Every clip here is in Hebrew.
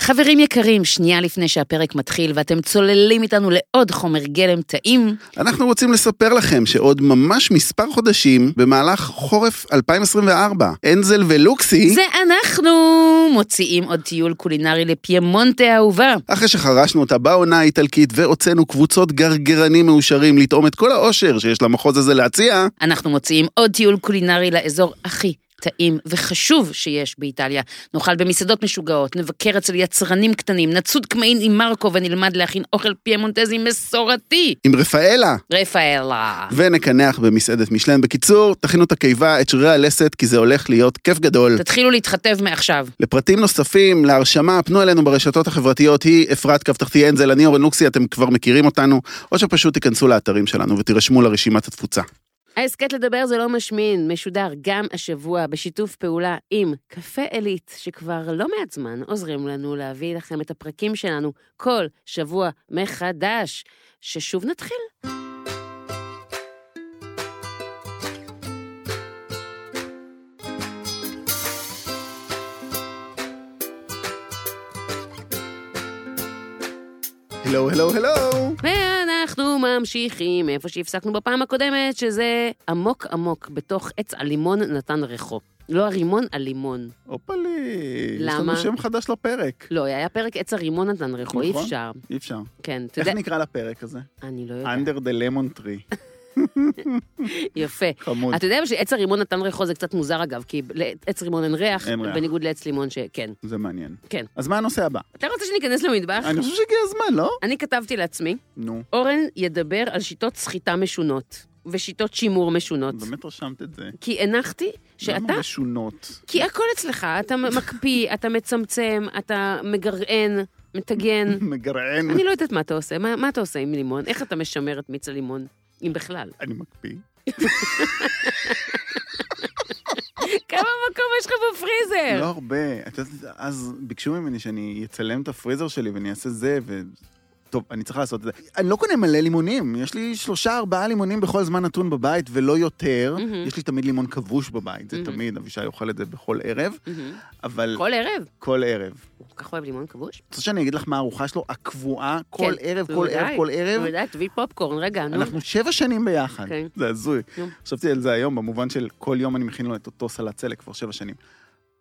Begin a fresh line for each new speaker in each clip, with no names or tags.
חברים יקרים, שנייה לפני שהפרק מתחיל ואתם צוללים איתנו לעוד חומר גלם טעים,
אנחנו רוצים לספר לכם שעוד ממש מספר חודשים, במהלך חורף 2024, אנזל ולוקסי,
זה אנחנו מוציאים עוד טיול קולינרי לפיימונטה האהובה.
אחרי שחרשנו אותה בעונה האיטלקית והוצאנו קבוצות גרגרנים מאושרים לטעום את כל האושר שיש למחוז הזה להציע,
אנחנו מוציאים עוד טיול קולינרי לאזור הכי טעים וחשוב שיש באיטליה. נאכל במסעדות משוגעות, נבקר אצל יצרנים קטנים, נצוד קמעין עם מרקו ונלמד להכין אוכל פיימונטזי מסורתי.
עם רפאלה,
רפאלה.
ונקנח במסעדת משלן. בקיצור, תכינו את הקיבה, את שרירי הלסת, כי זה הולך להיות כיף גדול.
תתחילו להתחתב מעכשיו.
לפרטים נוספים, להרשמה, פנו אלינו ברשתות החברתיות, היא אפרת קו תחתי אנזל, אני אורן לוקסי, אתם כבר מכירים אותנו, או שפשוט תיכנסו לאתרים שלנו ותירשמו לרשימת התפוצה.
ההסכת לדבר זה לא משמין, משודר גם השבוע בשיתוף פעולה עם קפה עילית, שכבר לא מעט זמן עוזרים לנו להביא לכם את הפרקים שלנו כל שבוע מחדש. ששוב נתחיל.
הלו, הלו, הלו.
ואנחנו ממשיכים איפה שהפסקנו בפעם הקודמת, שזה עמוק עמוק בתוך עץ הלימון נתן ריחו. לא הרימון, הלימון.
הופלי, יש לנו
למה?
שם חדש לפרק.
לא, היה פרק עץ הרימון נתן ריחו, אי
נכון.
אפשר.
אי אפשר.
כן, אתה
איך
יודע...
נקרא לפרק הזה?
אני לא יודעת.
under the lemon tree.
יפה.
חמוד.
אתה יודע אבל שעץ הרימון נתן ריחו זה קצת מוזר אגב, כי לעץ רימון אין ריח,
אין ריח.
בניגוד לעץ לימון שכן.
זה מעניין.
כן. אה.
אז מה הנושא הבא?
אתה רוצה שניכנס למטבח?
אני חושב שהגיע הזמן, לא?
אני כתבתי לעצמי,
נו,
אורן ידבר על שיטות סחיטה משונות ושיטות שימור משונות.
באמת רשמת את זה.
כי הנחתי שאתה,
למה משונות?
כי הכל אצלך, אתה מקפיא, אתה מצמצם, אתה מגרען, מטגן.
מגרען.
אני לא יודעת מה אתה עושה, מה מה אתה עושה עם לימון? איך אתה משמר את מיץ הלימון? אם בכלל.
אני מקפיא.
כמה מקום יש לך בפריזר?
לא הרבה. את יודעת, אז ביקשו ממני שאני אצלם את הפריזר שלי ואני אעשה זה, ו... טוב, אני צריך לעשות את זה. אני לא קונה מלא לימונים, יש לי שלושה, ארבעה לימונים בכל זמן נתון בבית, ולא יותר.
מהמם.
יש לי תמיד לימון כבוש בבית, זה
מהמם.
תמיד, אבישי אוכל את זה בכל ערב,
מהמם.
אבל
כל ערב.
כל ערב.
הוא כל כך אוהב לימון כבוש?
את רוצה שאני אגיד לך מה הארוחה שלו, הקבועה, כל
כן,
ערב, כל
בוודאי,
ערב, כל ערב?
בוודאי, תביא פופקורן, רגע, נו.
אנחנו שבע שנים ביחד.
כן.
זה הזוי.
נו.
חשבתי על זה היום, במובן של כל יום אני מכין לו את אותו סלט סלק כבר שבע שנים.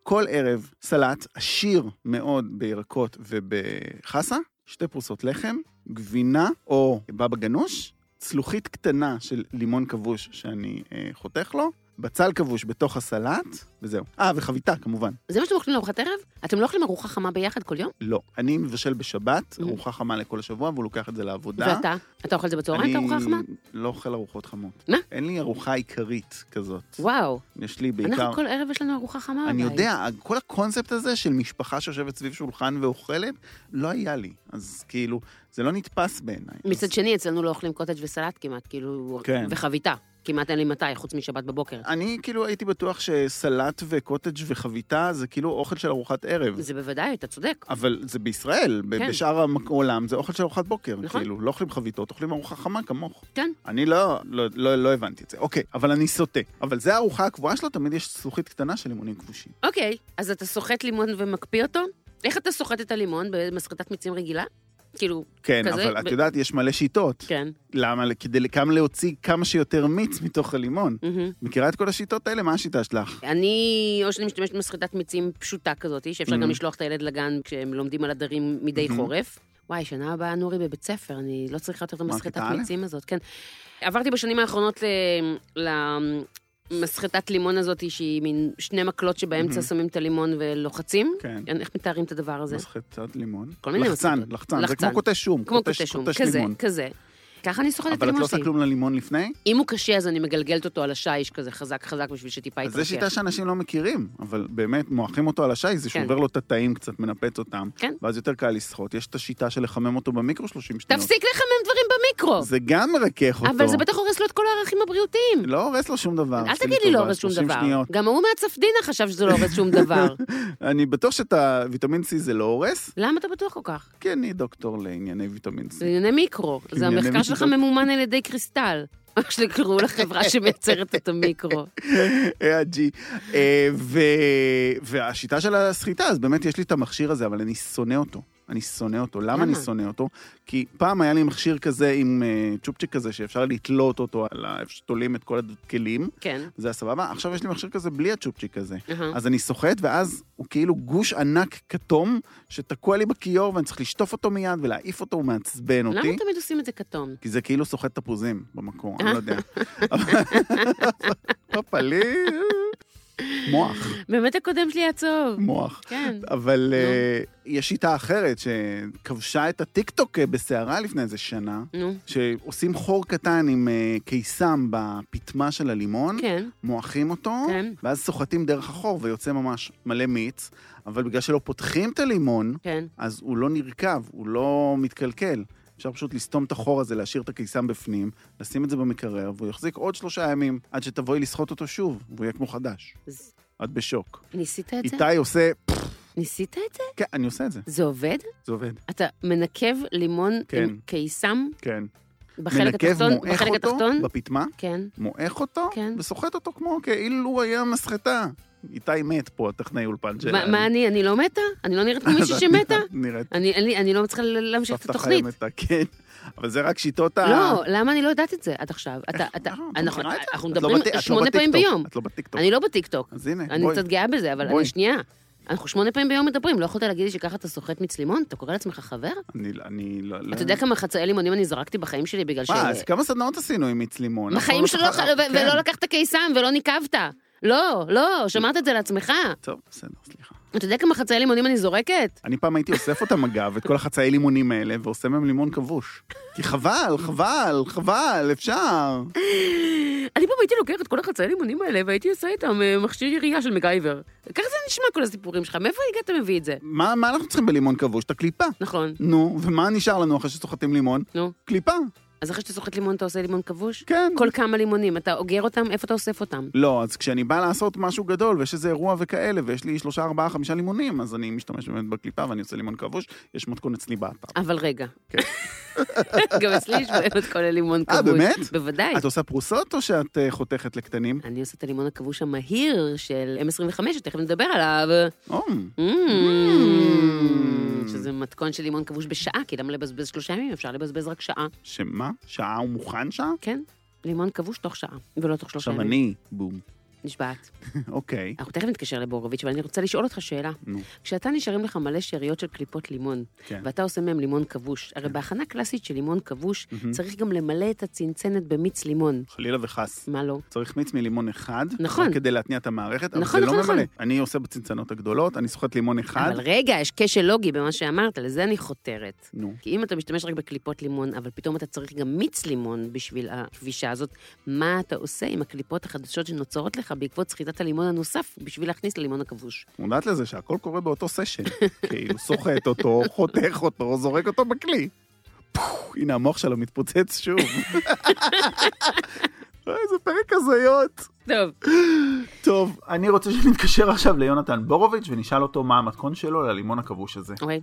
כל ערב סלט עשיר מאוד בירקות ובחסה, שתי פרוסות לחם, גבינה או בבא גנוש, צלוחית קטנה של לימון כבוש שאני אה, חותך לו, בצל כבוש בתוך הסלט, וזהו. אה, וחביתה כמובן.
זה מה שאתם אוכלים לארוחת ערב? אתם לא אוכלים ארוחה חמה ביחד כל יום?
לא. אני מבשל בשבת,
Mm.
ארוחה חמה לכל השבוע, והוא לוקח את זה לעבודה.
ואתה? אתה אוכל את זה בצהריים, את הארוחה החמה?
לא. אני לא אוכל ארוחות חמות.
מה?
אין לי ארוחה עיקרית כזאת.
וואו,
יש לי בעיקר...
אנחנו כל ערב יש לנו ארוחה חמה
אני
בבית.
יודע, כל הקונספט הזה של משפחה שיושבת סביב שולחן ואוכלת, לא היה לי. אז כאילו, זה לא נתפס בעיניי.
מצד
אז
שני, אצלנו לא אוכלים קוטג' וסלט כמעט, כאילו...
כן.
וחביתה. כמעט אין לי מתי, חוץ משבת בבוקר.
אני כאילו הייתי בטוח שסלט וקוטג' וחביתה זה כאילו אוכל של ארוחת ערב.
זה בוודאי, אתה צודק.
אבל זה בישראל, ב-
כן.
בשאר העולם זה אוכל של ארוחת בוקר.
נכון.
כאילו, לא אוכלים חביתות, אוכלים ארוחה חמה כמוך.
כן.
אני לא, לא, לא, לא הבנתי את זה. אוקיי, אבל אני סוטה. אבל זה הארוחה הקבועה שלו, תמיד יש זכוכית קטנה של לימונים כבושים.
אוקיי, אז אתה סוחט לימון ומקפיא אותו? איך אתה סוחט את הלימון? במסחטת מיצים רגילה? כאילו,
כן,
כזה?
אבל את
ב-
יודעת, יש מלא שיטות.
כן.
למה? כדי גם להוציא כמה שיותר מיץ מתוך הלימון.
מהמם.
מכירה את כל השיטות האלה? מה השיטה שלך?
אני, או שאני משתמשת במסחטת מיצים פשוטה כזאת, שאפשר
Mhm.
גם לשלוח את הילד לגן כשהם לומדים על הדרים מדי
Mhm.
חורף. וואי, שנה הבאה נורי בבית ספר, אני לא צריכה יותר את
מה,
המסחטת
כיתה א'?
מיצים הזאת, כן. עברתי בשנים האחרונות ל- למסחטת לימון הזאת, שהיא מין שני מקלות שבאמצע
Mhm.
שמים את הלימון ולוחצים.
כן.
כן, איך מתארים את הדבר הזה?
מסחטת לימון.
כל מיני
לחצן,
מסחטות.
לחצן. זה
לחצן.
כמו קוטש שום.
כמו קוטש שום, כזה,
לימון.
כזה. ככה אני סוחטת את
אבל את
הלימון
לא עושה
שלי.
כלום ללימון לפני?
אם הוא קשה, אז אני מגלגלת אותו על השיש כזה חזק חזק בשביל שטיפה
אז
יתרקח.
זו שיטה שאנשים לא מכירים, אבל באמת, מועכים אותו על השיש, זה
כן.
שובר לו את התאים קצת, מנפץ אותם,
כן.
ואז יותר קל לסחוט. יש את השיטה של לחמם אותו במיקרו 30 שניות.
תפסיק לחמם דברים במיקרו!
זה גם מרכך אותו.
אבל זה בטח הורס לו את כל הערכים הבריאותיים.
לא הורס לו שום דבר.
אל
עשי לי
תגיד לי לא
טובה,
הורס שום
30
דבר.
שניות.
גם ההוא מהצפדינה חשב שזה לא הורס שום דבר.
אני בטוח שאת הוויטמין C זה לא הורס,
למה אתה בטוח כל כך?
כי אני דוקטור לענייני ויטמין C.
זה ענייני מיקרו. זה
ענייני
המחקר שלך ממומן על ידי קריסטל. מה שקראו לחברה שמייצרת את המיקרו.
AIG. אה, ו... והשיטה של הסחיטה, אז באמת יש לי את המכשיר הזה, אבל אני שונא אותו. אני שונא אותו. למה
למה?
אני שונא אותו? כי פעם היה לי מכשיר כזה עם אה, צ'ופצ'יק כזה, שאפשר לתלות אותו על ה... איפה שתולים את כל הכלים,
כן.
זה היה סבבה. עכשיו יש לי מכשיר כזה בלי הצ'ופצ'יק הזה.
אהה.
אז אני סוחט, ואז הוא כאילו גוש ענק כתום שתקוע לי בכיור, ואני צריך לשטוף אותו מיד ולהעיף אותו, הוא מעצבן אותי.
למה תמיד עושים את זה כתום?
כי זה כאילו סוחט תפוזים במקור, אני לא יודע. אבל- פפלי, מוח,
באמת הקודם שלי היה צהוב.
מוח.
כן.
אבל אה, יש שיטה אחרת שכבשה את הטיקטוק אה, בסערה לפני איזה שנה,
נו,
שעושים חור קטן עם אה, קיסם בפטמה של הלימון,
כן,
מועכים אותו,
כן.
ואז סוחטים דרך החור ויוצא ממש מלא מיץ, אבל בגלל שלא פותחים את הלימון,
כן.
אז הוא לא נרקב, הוא לא מתקלקל. אפשר פשוט לסתום את החור הזה, להשאיר את הקיסם בפנים, לשים את זה במקרר, והוא יחזיק עוד שלושה ימים עד שתבואי לסחוט אותו שוב, והוא יהיה כמו חדש.
אז
את בשוק.
ניסית את זה?
איתי עושה...
ניסית את זה?
כן, אני עושה את זה.
זה עובד?
זה עובד.
אתה מנקב לימון
כן.
עם קיסם
כן.
בחלק התחתון?
מועך
בחלק
אותו
התחתון?
בפטמה,
כן.
מועך אותו,
כן.
וסוחט אותו כמו כאילו הוא היה מסחטה. איתי מת פה, הטכנאי אולפן שלנו.
מה- מה אני, אני לא מתה? אני לא נראית כמו מישהי שמתה?
נראית
אני- אני אני לא מצליחה להמשיך את
סבתא
התוכנית.
חיה מתה, כן. אבל זה רק שיטות ה...
לא, למה אני לא יודעת את זה עד עכשיו? אתה, אתה,
אה, את
אנחנו,
מכירה את זה?
אנחנו
את לא
מדברים
בטי- את לא
שמונה פעמים
בטיקטוק,
ביום.
את לא בטיקטוק.
אני לא בטיקטוק.
אז הנה,
אני
בואי.
קצת גאה בזה, אבל
בואי.
אני שנייה. אנחנו שמונה פעמים ביום מדברים, לא יכולת להגיד לי שככה אתה סוחט מיץ לימון? אתה קורא לעצמך חבר?
אני, אני לא...
אתה יודע כמה חצאי לימונים אני זרקתי בחיים שלי בגלל ש...
מה, אז כמה סדנאות עשינו עם מיץ לימון?
בחיים
אנחנו
שלא,
שכח-
ח- ו-
כן.
ולא לקחת קיסם ולא ניקבת. לא, לא, שמרת את זה לעצמך.
טוב, בסדר, סליחה.
אתה יודע כמה חצאי לימונים אני זורקת?
אני פעם הייתי אוסף אותם, אגב, את כל החצאי לימונים האלה, ועושה מהם לימון כבוש. כי חבל, חבל, חבל, אפשר.
אני פעם הייתי לוקחת את כל החצאי לימונים האלה והייתי עושה איתם אה, מכשיר ירייה של מגייבר. ככה זה נשמע כל הסיפורים שלך, מאיפה הגעת מביא את זה?
מה מה אנחנו צריכים בלימון כבוש? את הקליפה.
נכון,
נו, ומה נשאר לנו אחרי שסוחטים לימון?
נו.
קליפה,
אז אחרי שאתה סוחט לימון אתה עושה לימון כבוש?
כן.
כל כמה לימונים, אתה אוגר אותם, איפה אתה אוסף אותם?
לא, אז כשאני בא לעשות משהו גדול, ויש איזה אירוע וכאלה, ויש לי שלושה, ארבעה, חמישה לימונים, אז אני משתמש באמת בקליפה ואני עושה לימון כבוש, יש מתכון אצלי באתר.
אבל רגע.
כן.
גם אצלי יש בעיה את כל הלימון כבוש.
אה, באמת?
בוודאי.
את עושה פרוסות או שאת אה, חותכת לקטנים?
אני עושה את הלימון הכבוש המהיר של M25, שתכף נדבר עליו.
או,
Mm, שזה מתכון של לימון כבוש בשעה, כי למה לבזבז שלושה ימים? אפשר לבזבז רק שעה.
שמה? שעה הוא מוכן שעה?
כן, לימון כבוש תוך שעה, ולא תוך שלושה
עכשיו
ימים.
אני, בום.
נשבעת.
אוקיי.
אנחנו תכף נתקשר לבורוביץ', אבל אני רוצה לשאול אותך שאלה.
נו.
כשאתה נשארים לך מלא שאריות של קליפות לימון,
כן.
ואתה עושה מהם לימון כבוש, הרי בהכנה קלאסית של לימון כבוש,
מהמם.
צריך גם למלא את הצנצנת במיץ לימון.
חלילה וחס.
מה לא?
צריך מיץ מלימון אחד,
נכון.
רק כדי להתניע את המערכת, אבל
נכון,
זה לא
נכון, נכון.
ממלא. אני עושה בצנצנות הגדולות, אני סוחט לימון אחד.
אבל רגע, יש כשל לוגי במה שאמרת, לזה אני חותרת.
נו.
כי אם אתה משתמש רק בקליפות לימון, אבל פתאום אתה צריך גם מיץ לימון בשביל הכבישה הזאת, מה אתה עושה עם הקליפות החדשות שנוצרות לך בעקבות סחיטת הלימון הנוסף בשביל להכניס ללימון הכבוש?
מודעת לזה שהכל קורה באותו סשן. כאילו, סוחט אותו, חותך אותו, זורק אותו בכלי. פו, הנה המוח שלו מתפוצץ שוב. אוי, איזה פרק הזיות.
טוב,
טוב, אני רוצה שנתקשר עכשיו ליונתן בורוביץ' ונשאל אותו מה המתכון שלו ללימון הכבוש הזה.
אוקיי.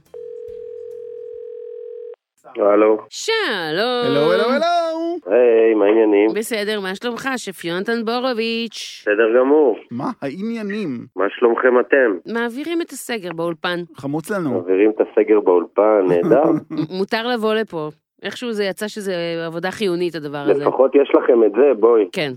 הלו.
שלום.
הלו,
אמ.
הלו, הלו!
היי, מה העניינים?
בסדר, מה שלומך? שף יונתן בורוביץ'.
בסדר גמור.
מה העניינים?
מה שלומכם אתם?
מעבירים את הסגר באולפן.
חמוץ לנו.
מעבירים את הסגר באולפן, נהדר.
מ- מותר לבוא לפה. איכשהו זה יצא שזה עבודה חיונית, הדבר הזה.
לפחות יש לכם את זה, בואי.
כן,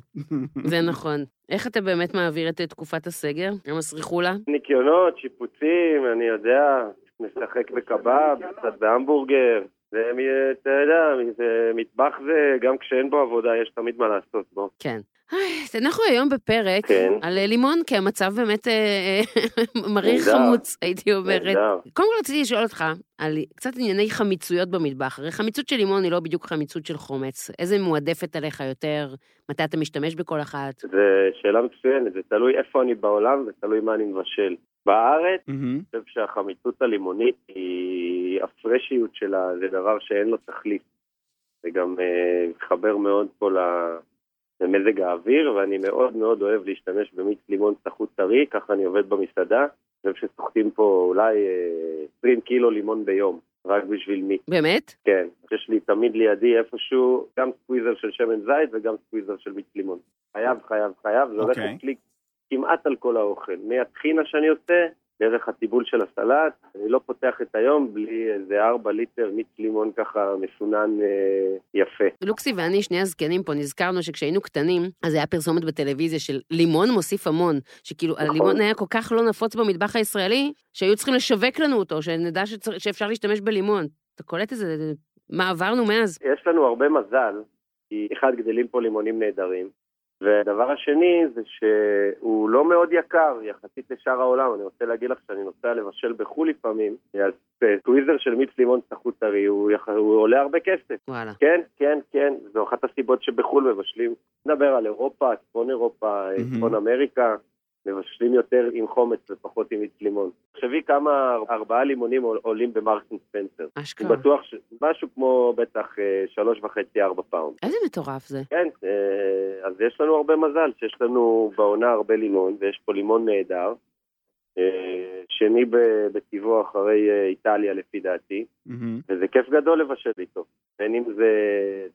זה נכון. איך אתה באמת מעביר את אה, תקופת הסגר? גם הסריחולה?
ניקיונות, שיפוצים, אני יודע, משחק בקבב, קצת בהמבורגר. זה, מ- אתה יודע, זה מטבח זה, גם כשאין בו עבודה, יש תמיד מה לעשות בו.
כן. היי, אנחנו היום בפרק
כן.
על אה, לימון, כי המצב באמת אה, אה, מריר
נהדר.
חמוץ, הייתי אומרת.
נהדר.
קודם כל רציתי לשאול אותך על קצת ענייני חמיצויות במטבח. הרי חמיצות של לימון היא לא בדיוק חמיצות של חומץ. איזה מועדפת עליך יותר? מתי אתה משתמש בכל אחת?
זה שאלה מצוינת, זה תלוי איפה אני בעולם ותלוי מה אני מבשל. בארץ,
מהמם.
אני חושב שהחמיצות הלימונית היא, הפרשיות שלה זה דבר שאין לו תחליף. זה גם אה, מתחבר מאוד פה ל- למזג האוויר, ואני מאוד מאוד אוהב להשתמש במיץ לימון סחוט טרי, ככה אני עובד במסעדה. אני חושב שסוחטים פה אולי אה, 20 קילו לימון ביום. רק בשביל מי.
באמת?
כן, יש לי תמיד לידי איפשהו גם סקוויזר של שמן זית וגם סקוויזר של מיץ לימון. חייב, חייב, חייב, זה הולך
אוקיי.
אצלי כמעט על כל האוכל. מהטחינה שאני עושה, דרך הטיבול של הסלט, אני לא פותח את היום בלי איזה ארבע ליטר מיץ לימון ככה מסונן אה, יפה.
לוקסי ואני, שני הזקנים פה, נזכרנו שכשהיינו קטנים, אז היה פרסומת בטלוויזיה של לימון מוסיף המון, שכאילו
נכון.
הלימון היה כל כך לא נפוץ במטבח הישראלי, שהיו צריכים לשווק לנו אותו, שנדע שצר... שאפשר להשתמש בלימון. אתה קולט את זה, מה עברנו מאז?
יש לנו הרבה מזל, כי אחד, גדלים פה לימונים נהדרים, והדבר השני זה שהוא לא מאוד יקר יחסית לשאר העולם. אני רוצה להגיד לך שאני נוסע לבשל בחו"ל לפעמים, אז אה, טוויזר של מיץ לימון סחוט טרי, הוא, יח... הוא עולה הרבה כסף.
וואלה.
כן, כן, כן, זו אחת הסיבות שבחו"ל מבשלים. נדבר על אירופה, צפון אירופה, אה,
מהמם.
צפון אמריקה. מבשלים יותר עם חומץ ופחות עם מיץ לימון. תחשבי כמה ארבעה לימונים עול- עולים במרקס אנד ספנסר. אני
אשכרה.
בטוח שמשהו כמו בטח אה, שלוש וחצי, ארבע פאונד.
איזה מטורף זה.
כן, אה, אז יש לנו הרבה מזל שיש לנו בעונה הרבה לימון, ויש פה לימון נהדר. אה, שני ב- בטבעו אחרי אה, איטליה לפי דעתי,
מהמם.
וזה כיף גדול לבשל איתו. בין אם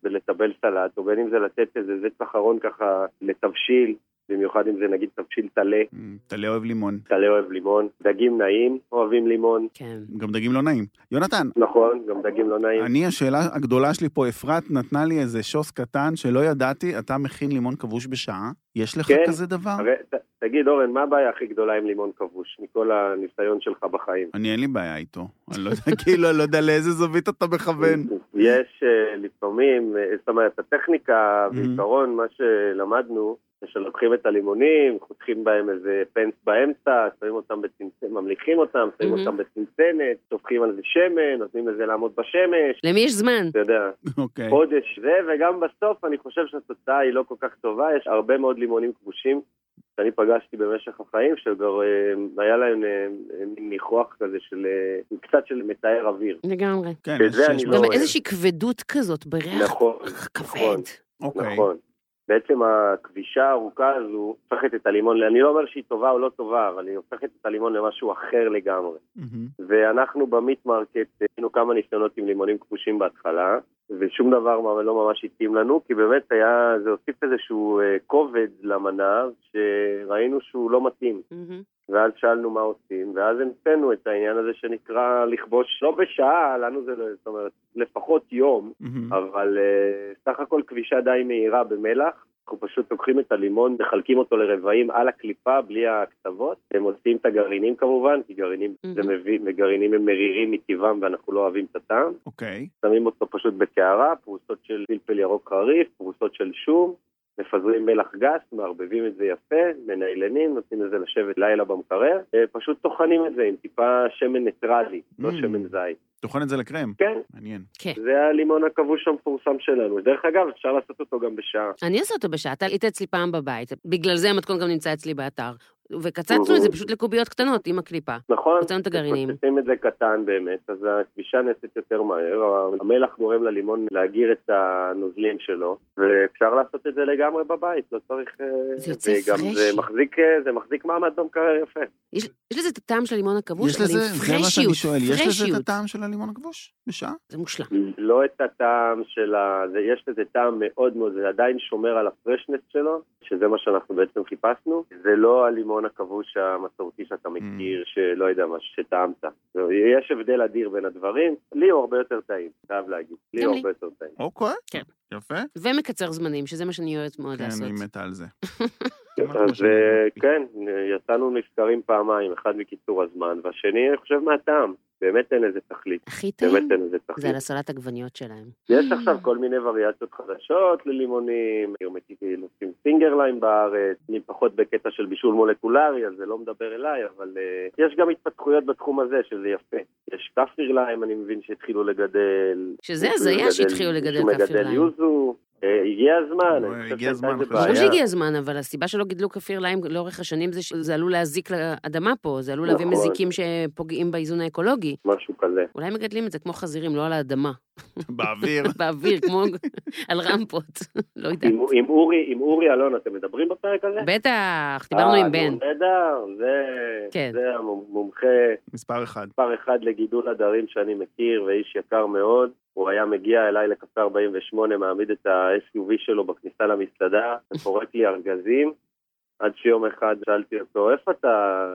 זה לטבל סלט, או בין אם זה לתת איזה זץ אחרון ככה לתבשיל, במיוחד אם זה נגיד תבשיל טלה,
מ, טלה אמ, לא אוהב לימון.
טלה אוהב לימון, דגים נעים אוהבים לימון,
כן.
גם דגים לא נעים. יונתן,
נכון, גם דגים לא נעים.
אני, השאלה הגדולה שלי פה, אפרת נתנה לי איזה שוס קטן שלא ידעתי, אתה מכין לימון כבוש בשעה? יש לך
כן.
כזה דבר?
הרי, ת, תגיד, אורן, מה הבעיה הכי גדולה עם לימון כבוש, מכל הניסיון שלך בחיים?
אני, אין לי בעיה איתו. אני לא יודע, כאילו, אני לא יודע לאיזה זווית אתה מכוון.
יש אה, לפעמים, אה, זאת אומרת, הטכניקה,
Mhm.
בעיקרון, מה שלמדנו, זה שלוקחים את הלימונים, חותכים בהם איזה פנס באמצע, שמים אותם בצנצנת, ממליכים אותם, שמים
Mhm.
אותם בצנצנת, שופכים על זה שמן, נותנים לזה לעמוד בשמש,
למי יש זמן?
אתה יודע,
אוקיי.
חודש זה, וגם בסוף אני חושב שהתוצאה היא לא כל כך טובה, יש הרבה מאוד לימונים כבושים שאני פגשתי במשך החיים, שהיה להם אה, אה, מין ניחוח כזה של, אה, קצת של מתאר אוויר. לגמרי.
כן,
את
יש
זה אני
שיש
לא
לו-
גם
אוהב.
איזושהי כבדות כזאת בריח
נכון,
כבד.
נכון.
אוקיי.
נכון. בעצם הכבישה הארוכה הזו הופכת את הלימון, אני לא אומר שהיא טובה או לא טובה, אבל היא הופכת את הלימון למשהו אחר לגמרי.
מהמם.
ואנחנו במיט מרקט עשינו כמה ניסיונות עם לימונים כבושים בהתחלה, ושום דבר מה- לא ממש התאים לנו, כי באמת היה, זה הוסיף איזשהו אה, כובד למנה, שראינו שהוא לא מתאים.
מהמם.
ואז שאלנו מה עושים, ואז המצאנו את העניין הזה שנקרא לכבוש, לא בשעה, לנו זה, לא- זאת אומרת, לפחות יום,
מהמם.
אבל אה, סך הכל כבישה די מהירה במלח. אנחנו פשוט לוקחים את הלימון, מחלקים אותו לרבעים על הקליפה, בלי הקצוות. הם מוציאים את הגרעינים כמובן, כי גרעינים,
Mhm.
זה מביא, גרעינים הם מרירים מטבעם ואנחנו לא אוהבים את הטעם.
אוקיי.
שמים אותו פשוט בקערה, פרוסות של פלפל ירוק חריף, פרוסות של שום, מפזרים מלח גס, מערבבים את זה יפה, מניילנים, נותנים לזה לשבת לילה במקרר, אה, פשוט טוחנים את זה עם טיפה שמן ניטרלי, לא
Mm.
שמן זית.
טוחן את זה לקרם.
כן,
מעניין.
זה הלימון הכבוש המפורסם שלנו. דרך אגב, אפשר לעשות אותו גם בשעה.
אני עושה אותו בשעה, אתה היית אצלי פעם בבית, בגלל זה המתכון גם נמצא אצלי באתר. וקצצנו את זה פשוט לקוביות קטנות עם הקליפה.
נכון?
הוצאנו את הגרעינים.
מפוצצים את זה קטן באמת, אז הכבישה נעשית יותר מהר, המלח גורם ללימון להגיר את הנוזלים שלו, ואפשר לעשות את זה לגמרי בבית, לא צריך... אה,
זה יוצא
וגם
פרשי.
זה מחזיק, אה, זה מחזיק מעמד במקרר יפה.
יש, יש לזה את הטעם של הלימון הכבוש,
יש
אבל
לזה,
עם
זה מה שאני
פרשיות,
שואל, יש לזה את
פרשיות.
הטעם של הלימון הכבוש? בשעה?
זה מושלם.
לא את הטעם של ה... זה, יש לזה טעם מאוד מאוד, זה עדיין שומר על הפרשנס שלו, שזה מה שאנחנו בעצם חיפשנו. זה לא הלימון הכבוש המסורתי שאתה מכיר, שלא יודע מה, שטעמת. זהו, יש הבדל אדיר בין הדברים. לי הוא הרבה יותר טעים, חייב להגיד. לי
גם
הוא
לי.
הרבה יותר טעים.
אוקיי.
כן.
יפה.
ומקצר זמנים, שזה מה שאני אוהבת מאוד
כן,
לעשות.
אני מתה על זה. כן,
אז אה, כן, יצאנו נזכרים פעמיים, אחד מקיצור הזמן, והשני, אני חושב, מהטעם. באמת אין לזה תכלית.
הכי טעים
באמת אין לזה
זה
תכלית.
על הסלט עגבניות שלהם.
יש עכשיו כל מיני וריאציות חדשות ללימונים, הרמטיקל עושים סינגרליים בארץ, אני פחות בקטע של בישול מולקולרי, אז זה לא מדבר אליי, אבל uh, יש גם התפתחויות בתחום הזה, שזה יפה. יש כפיר ליים, אני מבין שהתחילו לגדל.
שזה
מישהו
הזיה
מגדל-
שהתחילו לגדל
מישהו
כפיר
מגדל
ליים.
יוזו, אה, הגיע הזמן,
אה,
אני חושב
הגיע
שהייתה
הזמן,
איזה
אני חושב.
ברור
בעיה.
בעיה.
לא שהגיע הזמן, אבל הסיבה שלא גידלו כפיר ליים לאורך השנים זה שזה עלול להזיק לאדמה פה, זה עלול להביא
נכון.
מזיקים שפוגעים באיזון האקולוגי.
משהו כזה.
אולי מגדלים את זה כמו חזירים, לא על האדמה.
כן.
באוויר.
באוויר, כמו על רמפות, לא יודעת.
עם, עם, אורי, עם אורי אלון, אתם מדברים בפרק הזה?
בטח, דיברנו עם
אה,
בן.
נו, נהדר, זה,
כן.
זה המומחה
מספר אחד.
מספר אחד לגידול עדרים שאני מכיר, ואיש יקר מאוד. הוא היה מגיע אליי לקפה 48, מעמיד את ה-SUV שלו בכניסה למסעדה, ופורק לי ארגזים, עד שיום אחד שאלתי אותו, איפה אתה,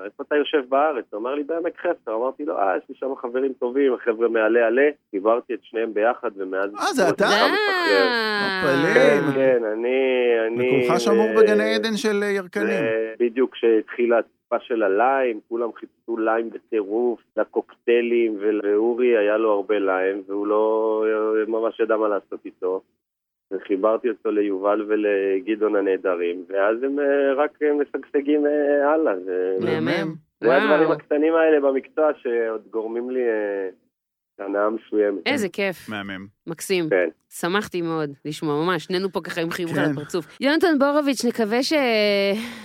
איפה אתה יושב בארץ? הוא אמר לי, בעמק חפר. אמרתי לו, אה, יש לי שם חברים טובים, החבר'ה מעלה עלה. דיברתי את שניהם ביחד, ומאז...
אה, זה אתה?
הוא נשאר מתחרר.
מפלא.
כן, כן, אני... אני...
מקומך שמור
אה,
בגני עדן של אה, ירקנים.
זה בדיוק כשהתחילה התקופה של הליים, כולם חיפשו ליים בטירוף, לקוקטיילים, ולאורי היה לו הרבה ליים, והוא לא ממש ידע מה לעשות איתו. וחיברתי אותו ליובל ולגדעון הנהדרים, ואז הם אה, רק אה, משגשגים אה, הלאה. זה,
מהמם.
זה הדברים
וואו,
הקטנים האלה במקצוע שעוד גורמים לי אה, הנאה מסוימת.
איזה כיף,
מהמם.
מקסים.
כן.
שמחתי מאוד לשמוע, ממש, שנינו פה ככה עם חיוך
כן.
על הפרצוף. יונתן בורוביץ', נקווה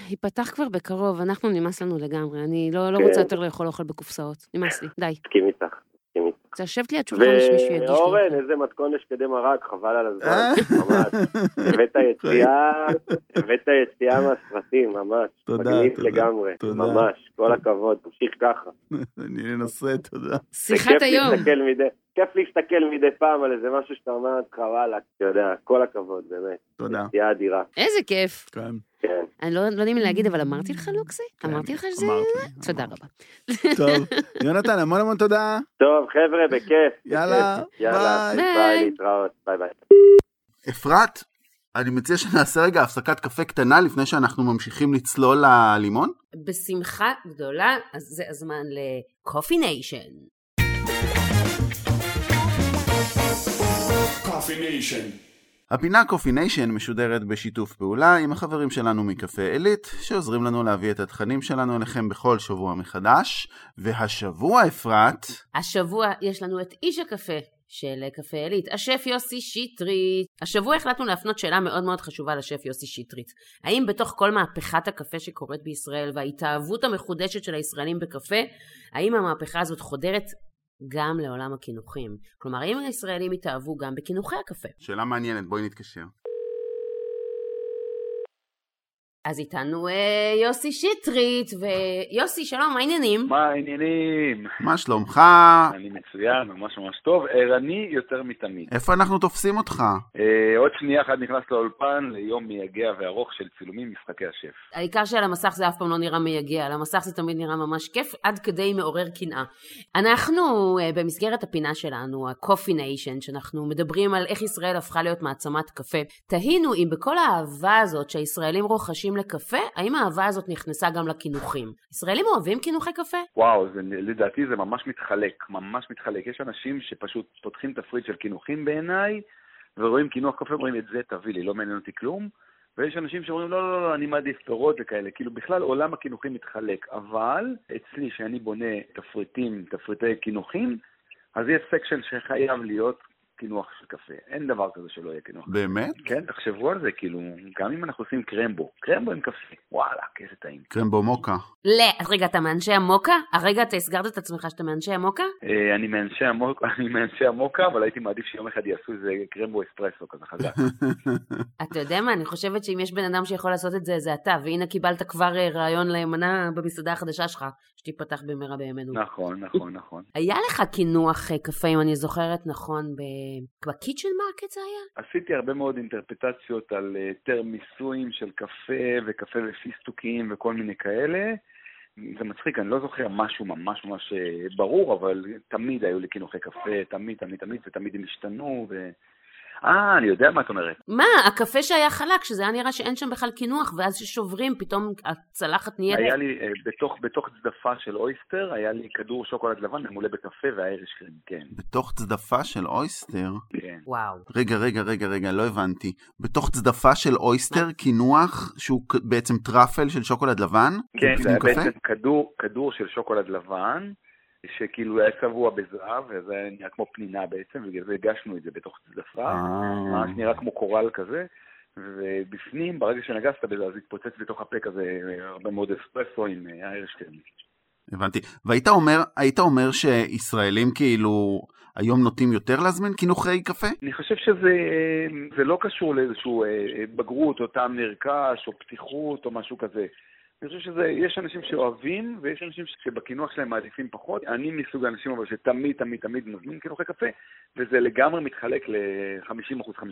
שייפתח כבר בקרוב, אנחנו נמאס לנו לגמרי, אני לא לא
כן.
רוצה יותר לאכול אוכל בקופסאות, נמאס לי, די.
מסכים איתך. מסכים איתך.
רוצה לשבת ליד שולחן שמישהו יגיש לי.
ואורן, איזה מתכון יש כדי מרק, חבל על
אה.
הזמן, אה, ממש. הבאת יציאה, הבאת יציאה מהסרטים, ממש.
תודה,
מגניב
תודה,
לגמרי,
תודה.
ממש. כל הכבוד, תמשיך ככה.
אני אנסה, תודה.
שיחת
וכיף
היום.
להסתכל מדי- כיף להסתכל מדי פעם על איזה משהו שאתה אומר לך, וואלה, אתה יודע, כל הכבוד, באמת.
תודה.
יציאה אדירה,
איזה כיף.
כן.
כן.
אני לא לא יודעים אם להגיד, אבל אמרתי לך לוקסי?
כן,
אמרתי לך שזה...
אמרתי,
תודה
אמרתי.
רבה.
טוב, יונתן, המון המון תודה.
טוב, חבר'ה, בכיף.
יאללה,
יאללה,
ביי.
ביי.
ביי, להתראות, ביי ביי.
אפרת, אני מציע שנעשה רגע הפסקת קפה קטנה לפני שאנחנו ממשיכים לצלול ללימון.
בשמחה גדולה, אז זה הזמן לקופי ניישן.
Coffee Nation.
הפינה קופי ניישן משודרת בשיתוף פעולה עם החברים שלנו מקפה עילית, שעוזרים לנו להביא את התכנים שלנו אליכם בכל שבוע מחדש. והשבוע, אפרת,
השבוע יש לנו את איש הקפה של קפה עילית, השף יוסי שטרית. השבוע החלטנו להפנות שאלה מאוד מאוד חשובה לשף יוסי שטרית. האם בתוך כל מהפכת הקפה שקורית בישראל וההתאהבות המחודשת של הישראלים בקפה, האם המהפכה הזאת חודרת גם לעולם הקינוחים? כלומר, האם הישראלים התאהבו גם בקינוחי הקפה?
שאלה מעניינת, בואי נתקשר.
אז איתנו אה, יוסי שטרית, ויוסי, שלום, מה העניינים?
מה העניינים?
מה שלומך?
אני מצוין, ממש ממש טוב. ערני יותר מתמיד.
איפה אנחנו תופסים אותך?
אה, עוד שנייה אחת נכנס לאולפן ליום מייגע וארוך של צילומים משחקי השף.
העיקר שעל המסך זה אף פעם לא נראה מייגע, על המסך זה תמיד נראה ממש כיף, עד כדי מעורר קנאה. אנחנו, אה, במסגרת הפינה שלנו, ה-Coffee Nation, שאנחנו מדברים על איך ישראל הפכה להיות מעצמת קפה, תהינו אם בכל האהבה הזאת שהישראלים רוכשים לקפה, האם האהבה הזאת נכנסה גם לקינוחים. ישראלים אוהבים קינוחי קפה?
וואו, זה, לדעתי זה ממש מתחלק, ממש מתחלק. יש אנשים שפשוט פותחים תפריט של קינוחים בעיניי, ורואים קינוח קפה, אומרים את זה תביא לי, לא מעניין אותי כלום. ויש אנשים שאומרים, לא, לא, לא, אני מעדיף פירות וכאלה. כאילו, בכלל עולם הקינוחים מתחלק. אבל אצלי, שאני בונה תפריטים, תפריטי קינוחים, אז יש סקשן שחייב להיות קינוח של קפה. אין דבר כזה שלא יהיה קינוח.
באמת?
כן, תחשבו על זה, כאילו, גם אם אנחנו עושים קרמבו, קרמבו עם קפה, וואלה, איזה טעים.
קרמבו מוקה.
לא. אז רגע, אתה מאנשי המוקה? הרגע אתה הסגרת את עצמך שאתה מאנשי המוקה?
אה, אני מאנשי המוקה, אני מאנשי המוקה, אבל הייתי מעדיף שיום אחד יעשו איזה קרמבו אספרסו כזה חזק.
אתה יודע מה, אני חושבת שאם יש בן אדם שיכול לעשות את זה, זה אתה, והנה קיבלת כבר אה, רעיון למנה במסעדה החדשה שלך, שתיפתח במהרה בימינו.
נכון, נכון, נכון.
היה לך קינוח אה, קפה, אם אני זוכרת נכון, ב- בקיצ'ן מרקט זה היה?
עשיתי הרבה מאוד אינטרפטציות על אה, תרמיסויים של קפה וקפה ופיסטוקים וכל מיני כאלה. זה מצחיק, אני לא זוכר משהו ממש ממש אה, ברור, אבל תמיד היו לי קינוחי קפה, תמיד, תמיד, תמיד, ותמיד הם השתנו, ו... אה, אני יודע מה את אומרת.
מה, הקפה שהיה חלק, שזה היה נראה שאין שם בכלל קינוח, ואז ששוברים, פתאום הצלחת נהיית...
היה לי, אה, בתוך, בתוך צדפה של אויסטר, היה לי כדור שוקולד לבן ממולא בקפה והאירש קרים, כן,
בתוך צדפה של אויסטר.
כן.
וואו.
רגע, רגע, רגע, רגע, לא הבנתי. בתוך צדפה של אויסטר, קינוח, שהוא כ- בעצם טראפל של שוקולד לבן?
כן, זה היה
בפנים קפה?
בעצם כדור, כדור של שוקולד לבן, שכאילו היה צבוע בזהב, וזה היה נראה כמו פנינה בעצם, בגלל זה הגשנו את זה בתוך צדפה,
אה,
ממש נראה כמו קורל כזה, ובפנים, ברגע שנגסת בזה, אז התפוצץ בתוך הפה כזה אה, הרבה מאוד אספרסו עם אה, האירש קרים.
הבנתי. והיית אומר, היית אומר שישראלים כאילו, היום נוטים יותר להזמין קינוחי קפה?
אני חושב שזה אה, זה לא קשור לאיזושהי בגרות או טעם נרכש או פתיחות או משהו כזה. אני חושב שיש אנשים שאוהבים ויש אנשים שבקינוח שלהם מעדיפים פחות. אני מסוג האנשים אבל שתמיד, תמיד, תמיד מזמין קינוחי קפה, וזה לגמרי מתחלק ל-50%, 50%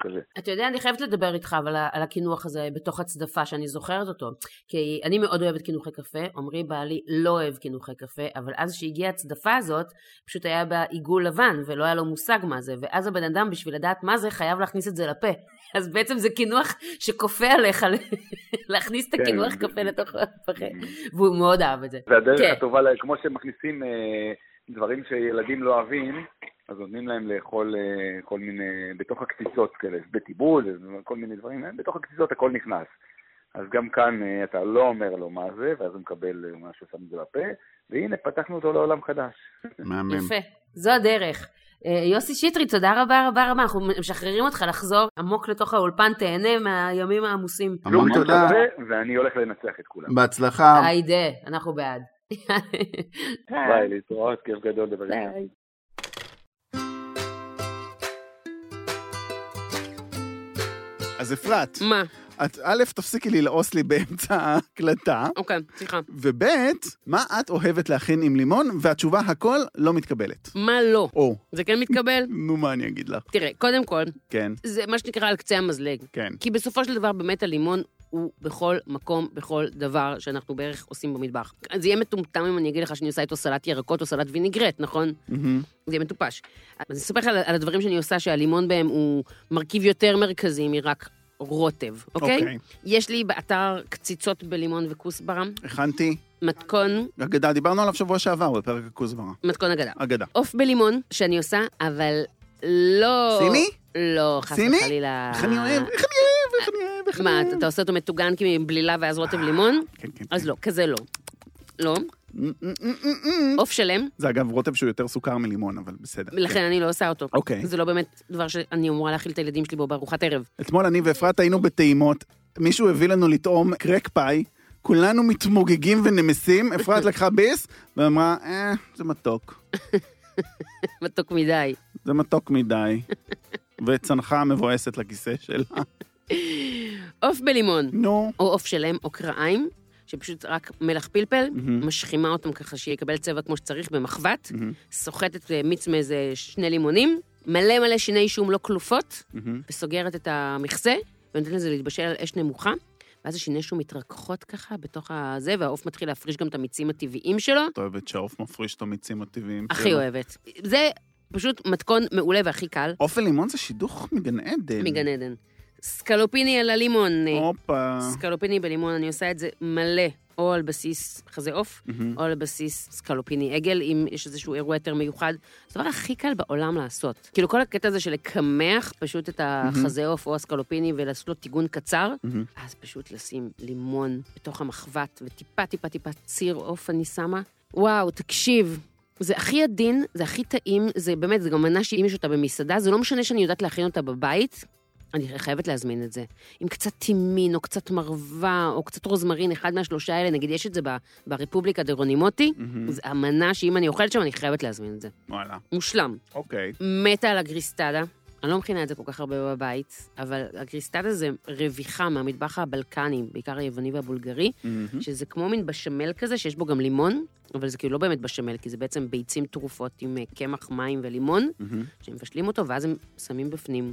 כזה.
אתה יודע, אני חייבת לדבר איתך אבל על הקינוח הזה בתוך הצדפה שאני זוכרת אותו. כי אני מאוד אוהבת קינוחי קפה, עמרי בעלי לא אוהב קינוחי קפה, אבל אז שהגיעה הצדפה הזאת, פשוט היה בה עיגול לבן ולא היה לו מושג מה זה, ואז הבן אדם בשביל לדעת מה זה חייב להכניס את זה לפה. אז בעצם זה קינוח שכופה עליך להכניס את
כן,
הקינוח
זה-
קפה לתוך הפחה.
Mm.
והוא מאוד אהב את זה.
והדרך
כן.
כן. הטובה, ל- כמו שמכניסים אה, דברים שילדים לא אוהבים, אז נותנים להם לאכול אה, כל מיני, בתוך הקציצות כאלה, בטיבול, כל מיני דברים, אה, בתוך הקציצות הכל נכנס. אז גם כאן אה, אתה לא אומר לו מה זה, ואז הוא מקבל אה, משהו, שם את זה בפה, והנה, פתחנו אותו לעולם חדש.
מהמם.
יפה, זו הדרך. אה, יוסי שטרית, תודה רבה רבה רבה, אנחנו משחררים אותך לחזור עמוק לתוך האולפן, תהנה מהימים העמוסים.
המון
כלום,
תודה,
זה, ואני הולך לנצח את כולם.
בהצלחה.
היידה, אנחנו בעד.
ביי, להתראות, כיף גדול לדבר איתך.
אז אפרת,
מה?
את א', תפסיקי ללעוס לי באמצע ההקלטה,
אוקיי, סליחה.
וב', מה את אוהבת להכין עם לימון, והתשובה הכל לא מתקבלת.
מה לא?
או,
זה כן מתקבל?
נו מה אני אגיד לך.
תראה, קודם כל,
כן,
זה מה שנקרא על קצה המזלג.
כן.
כי בסופו של דבר, באמת הלימון הוא בכל מקום, בכל דבר שאנחנו בערך עושים במטבח. זה יהיה מטומטם אם אני אגיד לך שאני עושה איתו סלט ירקות או סלט וינגרט, נכון?
מהמם.
זה יהיה מטופש. אז אני אספר לך על, על הדברים שאני עושה, שהלימון בהם הוא מרכיב יותר מרכזי מרק רוטב, אוקיי?
אוקיי.
יש לי באתר קציצות בלימון וכוסברה,
הכנתי
מתכון,
אגדה, דיברנו עליו שבוע שעבר בפרק הכוסברה.
מתכון אגדה.
אגדה.
עוף בלימון, שאני עושה, אבל לא...
סיני?
לא, חס
סיני?
וחלילה.
איך אני אוהב, איך אני אוהב, איך אני אוהב, איך אני
מה,
אוהב.
אתה, אתה עושה אותו מטוגן כי מבלילה ואז רוטב לימון?
כן, כן.
אז לא, כזה לא. לא. עוף שלם,
זה אגב רוטב שהוא יותר סוכר מלימון, אבל בסדר.
לכן אני לא עושה אותו.
כן. אוקיי.
זה לא באמת דבר שאני אמורה להאכיל את הילדים שלי בו בארוחת ערב.
כן. אתמול אני ואפרת היינו בטעימות, מישהו הביא לנו לטעום קרק פאי, כולנו מתמוגגים ונמסים, אפרת לקחה ביס ואמרה, אה, זה מתוק,
מתוק מדי.
זה מתוק מדי. וצנחה מבואסת לכיסא שלה.
עוף בלימון,
נו.
או עוף שלם או קרעיים, שפשוט רק מלח פלפל,
מהמם.
משחימה אותם ככה שיקבל צבע כמו שצריך במחבת,
מהמם,
סוחטת אה, מיץ מאיזה שני לימונים, מלא מלא שיני שום לא כלופות,
מהמם.
וסוגרת את המכסה, ונותנת לזה להתבשל על אש נמוכה, ואז השיני שום מתרככות ככה בתוך הזה, והעוף מתחיל להפריש גם את המיצים הטבעיים שלו.
את אוהבת שהעוף מפריש את המיצים הטבעיים שלו.
הכי אוהבת. זה פשוט מתכון מעולה והכי קל,
עוף ולימון זה שידוך מגן עדן.
מגן עדן. סקלופיני על הלימון. אה,
כן. הופה.
סקלופיני בלימון, אני עושה את זה מלא, או על בסיס חזה עוף,
מהמם.
או על בסיס סקלופיני עגל, אם יש איזשהו אירוע יותר מיוחד. זה הדבר הכי קל בעולם לעשות. כאילו, כל הקטע הזה של לקמח פשוט את החזה עוף או הסקלופיני ולעשות לו טיגון קצר,
מהמם.
אז פשוט לשים לימון בתוך המחבת, וטיפה, טיפה, טיפה ציר עוף אני שמה. וואו, תקשיב. זה הכי עדין, זה הכי טעים, זה באמת, זה גם מנה שאם יש אותה במסעדה, זה לא משנה שאני יודעת להכין אותה בבית, אני חייבת להזמין את זה. עם קצת טימין, או קצת מרווה, או קצת רוזמרין, אחד מהשלושה האלה, נגיד יש את זה ב- ברפובליקה דרונימוטי,
מהמם.
זו אמנה שאם אני אוכלת שם, אני חייבת להזמין את זה.
וואלה,
מושלם.
אוקיי.
מתה על הגריסטדה. אני לא מכינה את זה כל כך הרבה בבית, אבל הגריסטדה זה רוויחה מהמטבח הבלקני, בעיקר היווני והבולגרי,
מהמם.
שזה כמו מין בשמל כזה, שיש בו גם לימון, אבל זה כאילו לא באמת בשמל, כי זה בעצם ביצים טרופות עם אה, קמח, מים ולימון,
מהמם.
שהם מבשלים אותו, ואז הם שמים בפנים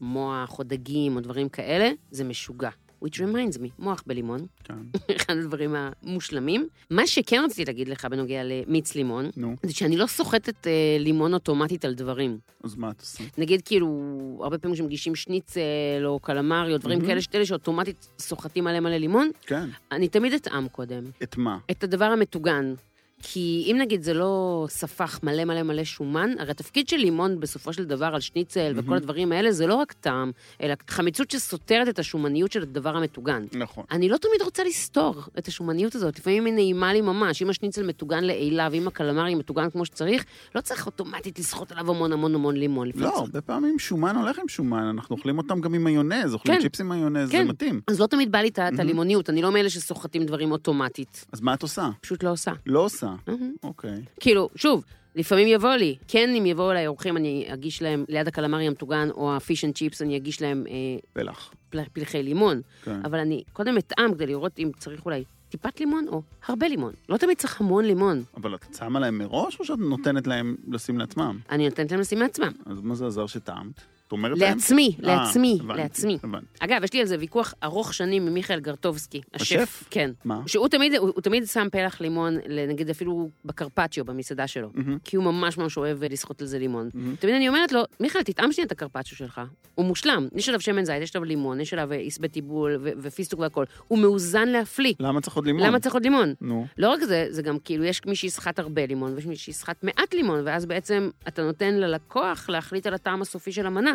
מוח או דגים או דברים כאלה, זה משוגע. which reminds me, מוח בלימון,
כן.
אחד הדברים המושלמים. מה שכן רציתי להגיד לך בנוגע למיץ לימון,
נו,
זה שאני לא סוחטת אה, לימון אוטומטית על דברים.
אז מה את עושה?
נגיד כאילו, הרבה פעמים כשמגישים שניצל או קלמרי או דברים
מהמם.
כאלה, שתלה שאוטומטית סוחטים עליהם מלא לימון,
כן.
אני תמיד אטעם קודם.
את מה?
את הדבר המטוגן. כי אם נגיד זה לא ספח מלא מלא מלא שומן, הרי התפקיד של לימון בסופו של דבר על שניצל וכל
מהמם.
הדברים האלה זה לא רק טעם, אלא חמיצות שסותרת את השומניות של הדבר המטוגן.
נכון.
אני לא תמיד רוצה לסתור את השומניות הזאת, לפעמים היא נעימה לי ממש. אם השניצל מטוגן לעילה ואם הקלמרי מטוגן כמו שצריך, לא צריך אוטומטית לסחוט עליו המון המון המון לימון. לפעמים
לא,
צריך-
הרבה פעמים שומן הולך עם שומן, אנחנו אוכלים אותם גם עם מיונז, אוכלים
כן.
צ'יפס עם מיונז, זה
כן.
מתאים.
אז לא תמיד בא לי את ה- את
מהמם.
הלימוניות, אני לא מאלה שסוחטים דברים אוטומטית.
אז מה את עושה?
פשוט לא עושה.
לא עושה. ממוצע,
מהמם.
אוקיי.
כאילו, שוב, לפעמים יבוא לי. כן, אם יבואו אליי אורחים, אני אגיש להם, ליד הקלמרי המטוגן או הפיש אנד צ'יפס, אני אגיש להם אה,
פלח.
פל- פלחי לימון.
כן.
אבל אני קודם אטעם כדי לראות אם צריך אולי טיפת לימון או הרבה לימון. לא תמיד צריך המון לימון.
אבל את שמה להם מראש, או שאת נותנת להם לשים לעצמם?
אני נותנת להם לשים מעצמם.
אז מה זה עזר שטעמת? את אומרת להם?
לעצמי,
אה,
לעצמי,
הבנתי,
לעצמי.
הבנתי.
אגב, יש לי על זה ויכוח ארוך שנים עם מיכאל גרטובסקי, השף.
השף?
כן.
מה?
שהוא תמיד, הוא, הוא תמיד שם פלח לימון, נגיד אפילו בקרפצ'יו, במסעדה שלו.
מהמם.
כי הוא ממש ממש אוהב לסחוט על זה לימון.
מהמם.
תמיד אני אומרת לו, מיכאל, תטעם שנייה את הקרפצ'יו שלך. הוא מושלם. יש עליו שמן זית, יש עליו לימון, יש עליו עשבי טיבול ו- ופיסטוק והכול. הוא מאוזן להפליא.
למה צריך עוד לימון?
למה צריך עוד לימון?
נו,
לא רק זה, זה גם כאילו, יש מי שיסחט הרבה לימון ויש מי שיסחט מעט לימון, ואז בעצם אתה נותן ללקוח להחליט על הטעם הסופי של המנה,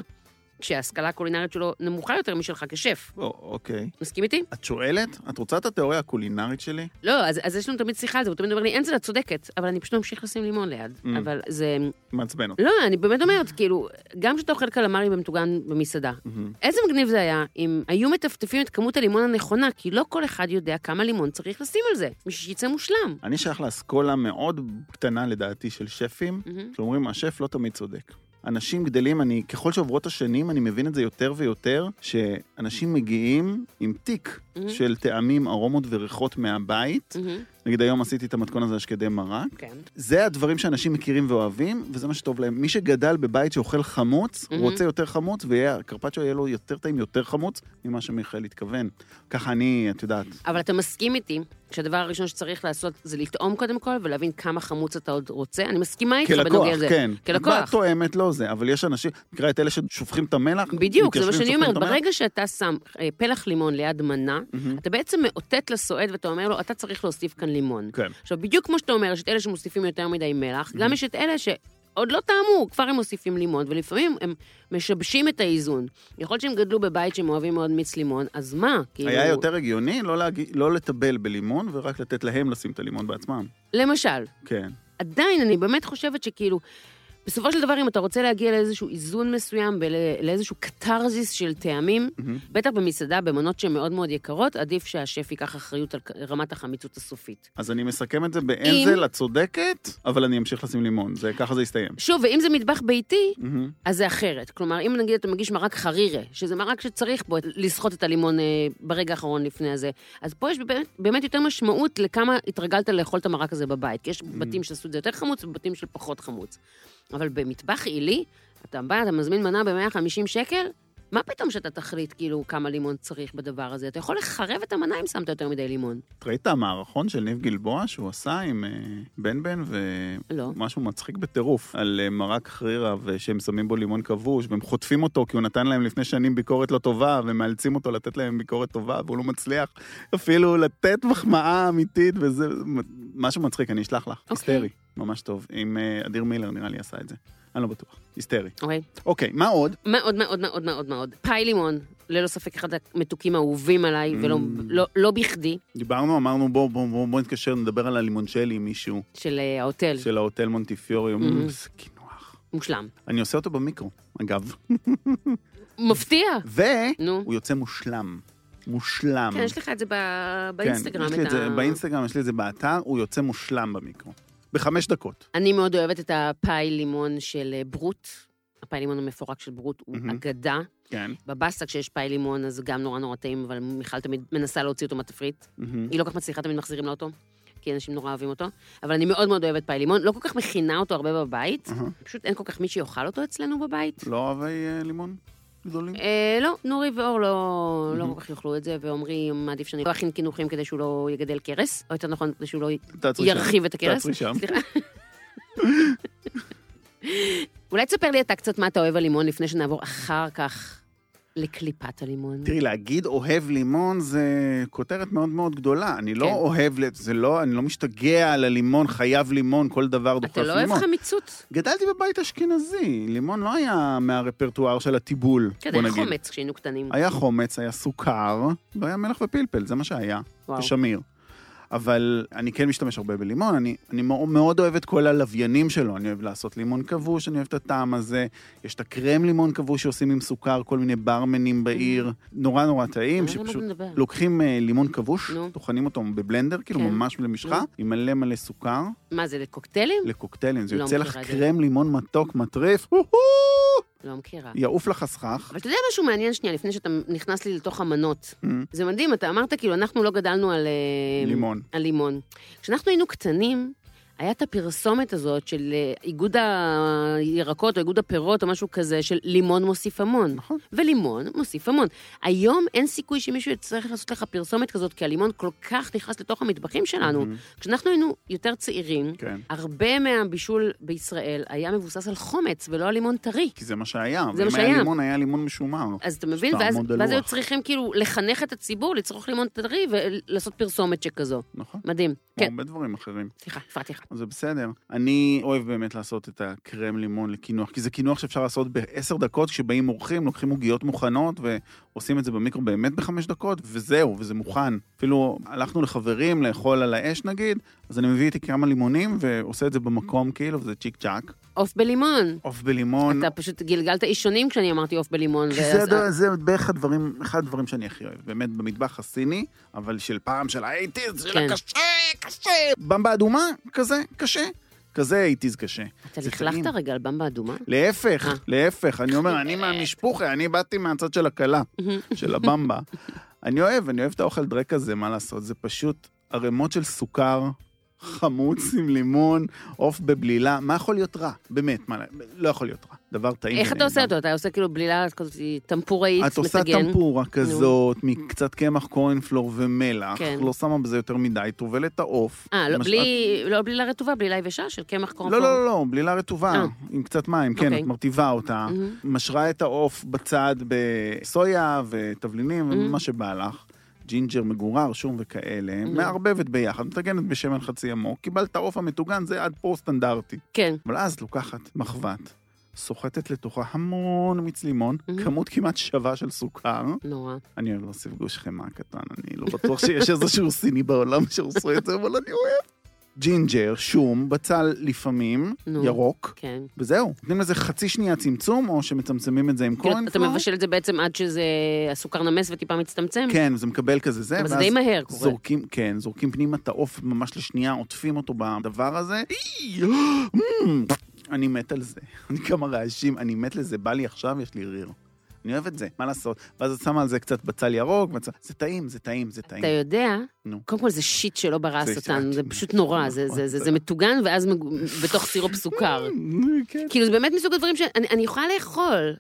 כשההשכלה הקולינרית שלו נמוכה יותר משלך כשף.
או, אוקיי.
מסכים איתי?
את שואלת? את רוצה את התיאוריה הקולינרית שלי?
לא, אז, אז יש לנו תמיד שיחה על זה, הוא תמיד אומר לי, אין זה, את צודקת, אבל אני פשוט אמשיך לשים לימון ליד.
Mm.
אבל זה...
מעצבן אותי.
לא, אני באמת אומרת, כאילו, גם כשאתה אוכל קלמרי במטוגן במסעדה,
מהמם.
איזה מגניב זה היה אם היו מטפטפים את כמות הלימון הנכונה, כי לא כל אחד יודע כמה לימון צריך לשים על זה, בשביל שיצא מושלם.
אני שייך לאסכולה מאוד קטנה לדעתי של שפים,
מהמם.
שאומרים, השף לא תמיד צודק. אנשים גדלים, אני, ככל שעוברות השנים, אני מבין את זה יותר ויותר, שאנשים מגיעים עם תיק
מהמם.
של טעמים, ארומות וריחות מהבית.
מהמם.
נגיד היום עשיתי את המתכון הזה על שקדי מרק.
Mm-hmm. כן.
זה הדברים שאנשים מכירים ואוהבים, וזה מה שטוב להם. מי שגדל בבית שאוכל חמוץ, mm-hmm.
מהמם.
רוצה יותר חמוץ, והקרפצ'ו יהיה לו יותר טעים, יותר חמוץ, ממה שמיכאל התכוון. ככה אני, את יודעת,
אבל אתה מסכים איתי שהדבר הראשון שצריך לעשות זה לטעום קודם כל ולהבין כמה חמוץ אתה עוד רוצה? אני מסכימה איתך
כלקוח,
בנוגע לזה.
כן.
כלקוח.
את באה תואמת, לא זה, אבל יש אנשים, תקרא את אלה ששופכים את המלח.
בדיוק, זה מה
מתיישבים,
שאני אומרת.
שופכים את המלח. Mm-hmm.
ברגע שאתה שם אה, פלח לימון ליד מנה,
מהמם.
אתה בעצם מאותת לסועד ואתה אומר לו, אתה צריך להוסיף כאן לימון.
כן.
עכשיו, בדיוק כמו שאתה אומר, יש את אלה שמוסיפים יותר מדי
Mm-hmm.
מלח, גם יש את אלה ש... עוד לא טעמו, כבר הם מוסיפים לימון, ולפעמים הם משבשים את האיזון. יכול להיות שהם גדלו בבית שהם אוהבים מאוד מיץ לימון, אז מה? כאילו...
היה יותר הגיוני לא, להג... לא לטבל בלימון, ורק לתת להם לשים את הלימון בעצמם.
למשל,
כן.
עדיין, אני באמת חושבת שכאילו, בסופו של דבר, אם אתה רוצה להגיע לאיזשהו איזון מסוים ולאיזשהו קתרזיס של טעמים,
מהמם.
בטח במסעדה, במנות שהן מאוד מאוד יקרות, עדיף שהשף ייקח אחריות על כ- רמת החמיצות הסופית.
אז אני מסכם את זה באנזל, את צודקת, אבל אני אמשיך לשים לימון, זה, ככה זה יסתיים.
שוב, ואם זה מטבח ביתי,
מהמם.
אז זה אחרת. כלומר, אם נגיד אתה מגיש מרק חרירה, שזה מרק שצריך בו לסחוט את הלימון אה, ברגע האחרון לפני הזה, אז פה יש באמת, באמת יותר משמעות לכמה התרגלת לאכול את המרק הזה בבית. כי יש בתים שעשו את זה יותר חמוץ ובתים של פחות חמוץ. אבל במטבח עילי, אתה בא, אתה מזמין מנה ב-150 שקל, מה פתאום שאתה תחליט כאילו כמה לימון צריך בדבר הזה? אתה יכול לחרב את המנה אם שמת יותר מדי לימון.
את ראית את המערכון של ניב גלבוע שהוא עשה עם אה, בן בן
לא.
ומשהו מצחיק בטירוף על אה, מרק חרירה ושהם שמים בו לימון כבוש והם חוטפים אותו כי הוא נתן להם לפני שנים ביקורת לא טובה ומאלצים אותו לתת להם ביקורת טובה והוא לא מצליח אפילו לתת מחמאה אמיתית וזה משהו מצחיק אני אשלח לך
אוקיי.
היסטרי ממש טוב עם אה, אדיר מילר נראה לי עשה את זה אני לא בטוח היסטרי
אוקיי.
אוקיי מה עוד
מאוד מאוד מאוד מאוד מאוד. פאי לימון, ללא ספק אחד המתוקים האהובים עליי, ולא לא, לא בכדי,
דיברנו אמרנו בוא בוא בוא, בוא נתקשר נדבר על הלימונצ'לי עם מישהו
של אה, ההוטל.
של ההוטל מונטיפיורי
Mhm.
איזה קינוח.
מושלם.
אני עושה אותו במיקרו, אגב.
מפתיע.
והוא
נו.
יוצא מושלם. מושלם.
כן, יש לך את זה ב- באינסטגרם.
כן, יש לי את זה
ה-
באינסטגרם, יש לי את זה באתר, הוא יוצא מושלם במיקרו. בחמש דקות.
אני מאוד אוהבת את הפאי לימון של אה, ברוט. הפאי לימון המפורק של ברוט הוא
מהמם.
אגדה.
כן.
בבאסטה כשיש פאי לימון, אז זה גם נורא נורא טעים, אבל מיכל תמיד מנסה להוציא אותו מהתפריט.
מהמם.
היא לא כל כך מצליחה, תמיד מחזירים לה אותו, כי אנשים נורא אוהבים אותו. אבל אני מאוד מאוד אוהבת פאי לימון, לא כל כך מכינה אותו הרבה בבית,
אהה.
פשוט אין כל כך מי שיאכל אותו אצלנו בבית.
לא אוהבי אה, לימון גדולים?
אה, לא, נורי ואור לא, לא
מהמם.
כל כך יאכלו את זה, ועומרי מעדיף שאני לא אכין קינוחים כדי שהוא לא יגדל קרס, או יותר נכון, כדי שהוא לא
תעצרי שם.
ירחיב את הקרס.
תעצרי שם.
סליחה. אולי תספר לי אתה קצת מה אתה אוהב על לימון לפני שנעבור אחר כך לקליפת הלימון.
תראי, להגיד אוהב לימון זה כותרת מאוד מאוד גדולה. אני לא
כן.
אוהב, ל- זה לא, אני לא משתגע על הלימון, חייב לימון, כל דבר דוחף
אתה
לימון.
לא אוהב חמיצות?
גדלתי בבית אשכנזי, לימון לא היה מהרפרטואר של הטיבול,
כן,
בוא
היה
נגיד. אה,
חומץ כשהיינו קטנים.
היה חומץ, היה סוכר, לא היה מלח ופלפל, זה מה שהיה,
וואו.
ושמיר. אבל אני כן משתמש הרבה בלימון, אני, אני מאו- מאוד אוהב את כל הלוויינים שלו, אני אוהב לעשות לימון כבוש, אני אוהב את הטעם הזה, יש את הקרם לימון כבוש שעושים עם סוכר, כל מיני ברמנים בעיר, נורא נורא טעים,
על מה
שפשוט
אתה מדבר?
לוקחים אה, לימון כבוש,
נו.
טוחנים אותו בבלנדר, כאילו
כן.
ממש למשחה,
נו.
עם מלא מלא סוכר,
מה זה, לקוקטיילים?
לקוקטיילים, זה
לא
יוצא לך
מכירה את זה. אה.
קרם לימון מתוק, מטריף, הו-הו!
לא מכירה.
יעוף לך סכך.
אבל אתה יודע משהו מעניין שנייה, לפני שאתה נכנס לי לתוך המנות.
אמ,
זה מדהים, אתה אמרת כאילו, אנחנו לא גדלנו על... אה,
לימון.
על לימון. כשאנחנו היינו קטנים, היה את הפרסומת הזאת של אה, איגוד הירקות או איגוד הפירות או משהו כזה, של לימון מוסיף המון.
נכון.
ולימון מוסיף המון. היום אין סיכוי שמישהו יצטרך לעשות לך פרסומת כזאת, כי הלימון כל כך נכנס לתוך המטבחים שלנו.
אמ,
כשאנחנו היינו יותר צעירים,
כן.
הרבה מהבישול בישראל היה מבוסס על חומץ ולא על לימון טרי.
כי זה מה שהיה.
זה מה
אם
שהיה.
היה לימון, היה לימון משומר.
אז אתה מבין?
שתעמוד
ואז,
על
ואז היו
לוח.
צריכים כאילו לחנך את הציבור לצרוך לימון טרי ולעשות פרסומת שכזו.
נכון.
מדהים.
כמו
כן,
הרבה דברים אחרים.
סליחה, הפרעתי לך.
אז זה בסדר. אני אוהב באמת לעשות את הקרם לימון לקינוח, כי זה קינוח שאפשר לעשות בעשר דקות, כשבאים אורחים, לוקחים עוגיות מוכנות ועושים את זה במיקרו באמת בחמש דקות, וזהו, וזה מוכן. אפילו הלכנו לחברים לאכול על האש נגיד, אז אני מביא איתי כמה לימונים ועושה את זה במקום כאילו, וזה צ'יק צ'אק.
עוף בלימון.
עוף בלימון.
אתה פשוט גלגלת אישונים כשאני אמרתי עוף בלימון.
כי
ואז-
זה, הדבר, זה בערך הדברים, אחד הדברים שאני הכי אוהב, באמת, במטבח הסיני, אבל של פעם, של האייטיז, של
כן.
הקשה, קשה. במבה אדומה, כזה, קשה. כזה אייטיז קשה.
אתה
זה
לכלכת
טעים.
רגע על במבה אדומה?
להפך,
אה.
להפך, אני אומר, אני מהמשפוחה, אני באתי מהצד של הכלה, של הבמבה. אני אוהב, אני אוהב את האוכל דרק הזה, מה לעשות, זה פשוט ערימות של סוכר, חמוץ עם לימון, עוף בבלילה, מה יכול להיות רע? באמת, מה, לא יכול להיות רע. דבר טעים.
איך אתה
ונעים.
עושה אותו? אתה עושה כאילו בלילה כזאת טמפוראית,
את עושה
מטגן.
טמפורה כזאת, מקצת קמח קורנפלור ומלח,
כן.
לא שמה בזה יותר מדי, טובל את העוף.
אה, לא,
ממש-
בלי, לא בלילה רטובה, בלילה יבשה של קמח
לא,
קורנפלור.
לא, לא, לא, בלילה רטובה,
אה.
עם קצת מים, כן,
אוקיי. Mm-hmm.
את מרטיבה אותה.
מהמם.
משרה את העוף בצד בסויה ותבלינים,
Mhm.
מה שבא לך. ג'ינג'ר מגורר, שום וכאלה,
Mhm.
מערבבת ביחד, מטגנת בשמן חצי עמוק, קיבלת עוף המטוגן, זה עד פה סטנדרטי.
כן.
אבל אז את לוקחת מחבת, סוחטת לתוכה המון מיץ לימון,
Mhm.
כמות כמעט שווה של סוכר,
נורא.
אני אוהב להוסיף גוש חמאה קטן, אני לא בטוח שיש איזשהו סיני בעולם שעושה את זה, אבל אני אוהב. ג'ינג'ר, שום, בצל לפעמים,
נו.
ירוק,
כן.
וזהו. נותנים לזה חצי שנייה צמצום, או שמצמצמים את זה עם
כאילו, אתה
קורנפלור.
מבשל את זה בעצם עד שזה... הסוכר נמס וטיפה מצטמצם?
כן, זה מקבל כזה זה,
אבל זה
ואז
די מהר קורה.
זורקים, כן, זורקים פנימה את העוף ממש לשנייה, עוטפים אותו בדבר הזה. אי, אמ, אני מת על זה. אני כמה רעשים, אני מת לזה, בא לי עכשיו, יש לי ריר. אני אוהב את זה, מה לעשות? ואז את שמה על זה קצת בצל ירוק, בצל- זה טעים, זה טעים, זה טעים.
אתה יודע,
נו.
קודם כל זה שיט שלא ברא
זה
השטן,
שיט.
זה פשוט נורא, זה-
נכון,
זה- זה-
זה-
זה מטוגן ואז מג- בתוך סירופ סוכר.
כן.
כאילו, זה באמת מסוג הדברים שאני אני יכולה לאכול,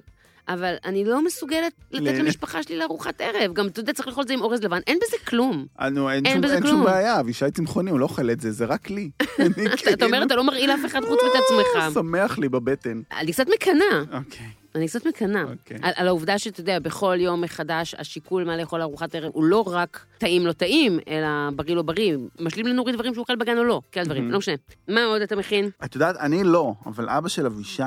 אבל אני לא מסוגלת לתת
ל-
למשפחה שלי לארוחת ערב. גם, אתה יודע, צריך לאכול את זה עם אורז לבן, אין בזה כלום.
אה, נו, אין,
אין
שום,
בזה
אין
כלום.
שום בעיה, אבישי צמחוני, הוא לא אוכל את זה, זה רק לי. אני כן,
אתה- אתה אומר, אתה לא מרעיל אף אחד חוץ מאת עצמך.
שמח לי בבטן.
אני קצת מקנאה,
אוקיי,
אני קצת מקנאה.
אוקיי.
על, על העובדה שאתה יודע, בכל יום מחדש, השיקול מה לאכול לארוחת ערב הוא לא רק טעים לא טעים, אלא בריא לא בריא. משלים לנורי דברים שהוא אוכל בגן או לא, כאלה דברים,
Mhm.
לא משנה. מה עוד אתה מכין?
את יודעת, אני לא, אבל אבא של אבישי,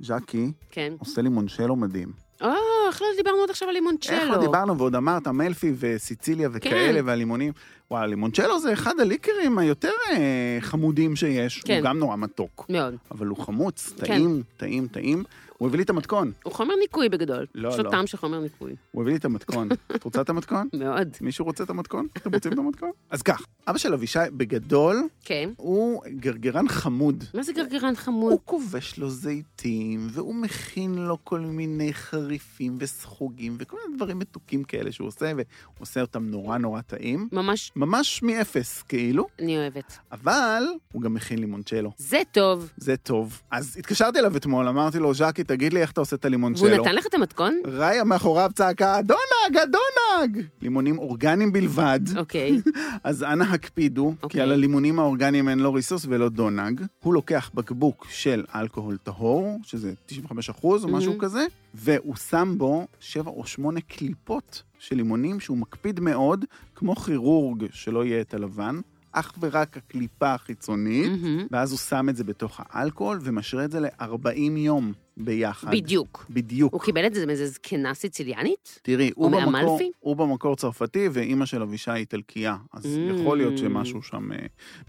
ז'קי,
כן.
עושה לי מונשלו מדהים.
או, איך לא דיברנו עד עכשיו על לימונצ'לו.
איך לא דיברנו, ועוד אמרת, מלפי וסיציליה וכאלה, והלימונים. וואי, הלימונצ'לו זה אחד הליקרים היותר אה, חמודים שיש.
כן.
הוא גם נורא מתוק,
מאוד.
אבל הוא חמוץ, טעים, טעים, טעים. הוא הביא לי את המתכון.
הוא חומר ניקוי בגדול.
לא,
יש לו
לא.
טעם של חומר ניקוי.
הוא הביא לי את המתכון. את רוצה את המתכון?
מאוד.
מישהו רוצה את המתכון? אתם רוצים את המתכון? אז כך, אבא של אבישי, בגדול,
כן.
הוא גרגרן חמוד.
מה זה גרגרן חמוד?
הוא כובש לו זיתים, והוא מכין לו כל מיני חריפים וסחוגים, וכל מיני דברים מתוקים כאלה שהוא עושה, והוא עושה אותם נורא נורא טעים.
ממש,
ממש מאפס, כאילו,
אני אוהבת.
אבל הוא גם מכין לימונצ'לו.
זה טוב.
זה טוב. אז התקשרתי אליו אתמול, אמרתי לו, ז'קי, תגיד לי איך אתה עושה את
והוא
הלימונצ'לו.
נתן לך את המתכון?
ראיה מאחוריו צעקה, אדונג, אדונג! לימונים אורגניים בלבד.
אוקיי.
אז אנא הקפידו, okay.
אוקיי.
כי על הלימונים האורגניים אין לא ריסוס ולא דונג. הוא לוקח בקבוק של אלכוהול טהור, שזה 95 אחוז או משהו
מהמם.
כזה, והוא שם בו 7 או 8 קליפות של לימונים שהוא מקפיד מאוד, כמו כירורג שלא יהיה את הלבן. אך ורק הקליפה החיצונית,
מהמם.
ואז הוא שם את זה בתוך האלכוהול ומשרה את זה ל-40 יום ביחד.
בדיוק.
בדיוק.
הוא קיבל את זה מאיזה זקנה סיציליאנית?
תראי, הוא במקור,
מאמלפי?
הוא במקור צרפתי, ואימא של אבישי היא איטלקייה, אז
Mm.
יכול להיות שמשהו שם אה,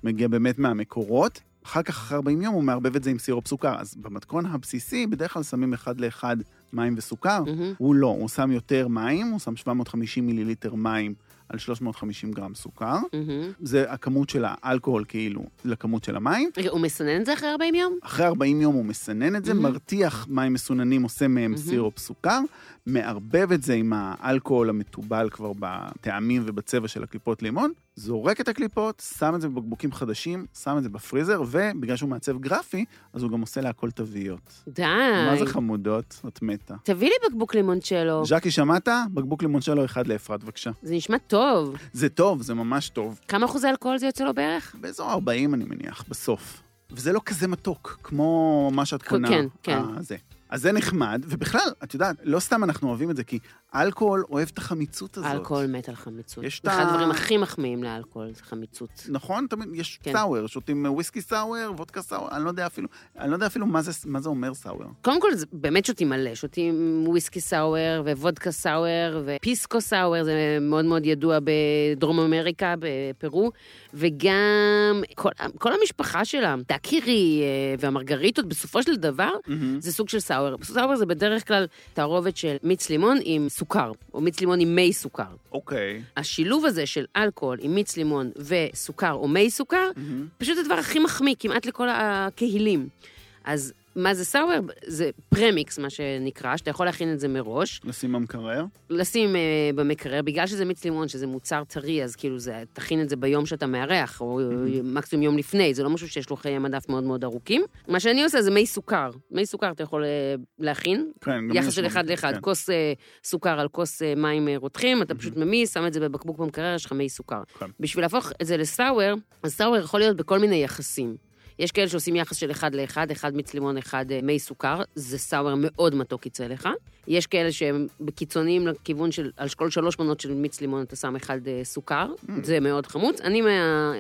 מגיע באמת מהמקורות. אחר כך, אחרי 40 יום, הוא מערבב את זה עם סירופ סוכר. אז במתכון הבסיסי, בדרך כלל שמים אחד לאחד מים וסוכר.
מהמם.
הוא לא, הוא שם יותר מים, הוא שם 750 מיליליטר מים על 350 גרם סוכר.
מהמם.
זה הכמות של האלכוהול, כאילו, לכמות של המים.
רגע, הוא מסנן את זה אחרי 40 יום?
אחרי 40 יום הוא מסנן את זה,
מהמם.
מרתיח מים מסוננים, עושה מהם
מהמם.
סירופ סוכר, מערבב את זה עם האלכוהול המתובל כבר בטעמים ובצבע של הקליפות לימון, זורק את הקליפות, שם את זה בבקבוקים חדשים, שם את זה בפריזר, ובגלל שהוא מעצב גרפי, אז הוא גם עושה להכל תוויות.
די.
מה זה חמודות? את מתה.
תביא לי בקבוק לימונצ'לו.
ז'קי, שמעת? בקבוק לימונצ'לו אחד לאפרת, בבקשה.
זה נשמע טוב.
זה טוב, זה ממש טוב.
כמה אחוזי אלכוהול זה יוצא לו בערך?
באזור 40, אני מניח, בסוף. וזה לא כזה מתוק, כמו מה שאת
כן,
קונה.
כן, כן.
אה, זה. אז זה נחמד, ובכלל, את יודעת, לא סתם אנחנו אוהבים את זה, כי אלכוהול אוהב את החמיצות הזאת.
אלכוהול מת על חמיצות.
יש
אחד
את ה-
הדברים הכי מחמיאים לאלכוהול זה חמיצות.
נכון, תמיד יש
כן.
סאואר, שותים אה, וויסקי סאואר, וודקה סאואר, אני לא יודע אפילו, אני לא יודע אפילו מה זה, מה זה אומר סאואר.
קודם כל, זה באמת שותים מלא, שותים וויסקי סאואר וודקה סאואר ופיסקו סאואר, זה מאוד מאוד ידוע בדרום אמריקה, בפרו, וגם כל, כל המשפחה שלה, דקירי אה, והמרגריטות, בסופו של דבר, זה סוג של סאואר. סאואר זה בדרך כלל תערובת של מיץ לימון עם סוכר, או מיץ לימון עם מי סוכר.
אוקיי.
השילוב הזה של אלכוהול עם מיץ לימון וסוכר או מי סוכר,
מהמם.
פשוט הדבר הכי מחמיא כמעט לכל הקהילים. אז מה זה סאואר? זה פרמיקס, מה שנקרא, שאתה יכול להכין את זה מראש,
לשים במקרר.
לשים אה, במקרר, בגלל שזה מיץ לימון, שזה מוצר טרי, אז כאילו זה, תכין את זה ביום שאתה מארח, או
Mhm.
מקסימום יום לפני, זה לא משהו שיש לו חיי מדף מאוד מאוד ארוכים. מה שאני עושה זה מי סוכר. מי סוכר אתה יכול אה, להכין,
כן, גם
יחס
יש
של
לו-
אחד לאחד,
כן.
כוס אה, סוכר על כוס אה, מים אה, רותחים, אתה פשוט ממיס, שם את זה בבקבוק במקרר, יש לך מי סוכר.
כן.
בשביל להפוך את זה לסאואר, אז סאואר יכול להיות בכל מיני יחסים. יש כאלה שעושים יחס של אחד לאחד, אחד מיץ לימון, אחד אה, מי סוכר, זה סאואר מאוד מתוק יצא לך. יש כאלה שהם קיצוניים לכיוון של, על כל שלוש מנות של מיץ לימון אתה שם אחד אה, סוכר,
Mm.
זה מאוד חמוץ. אני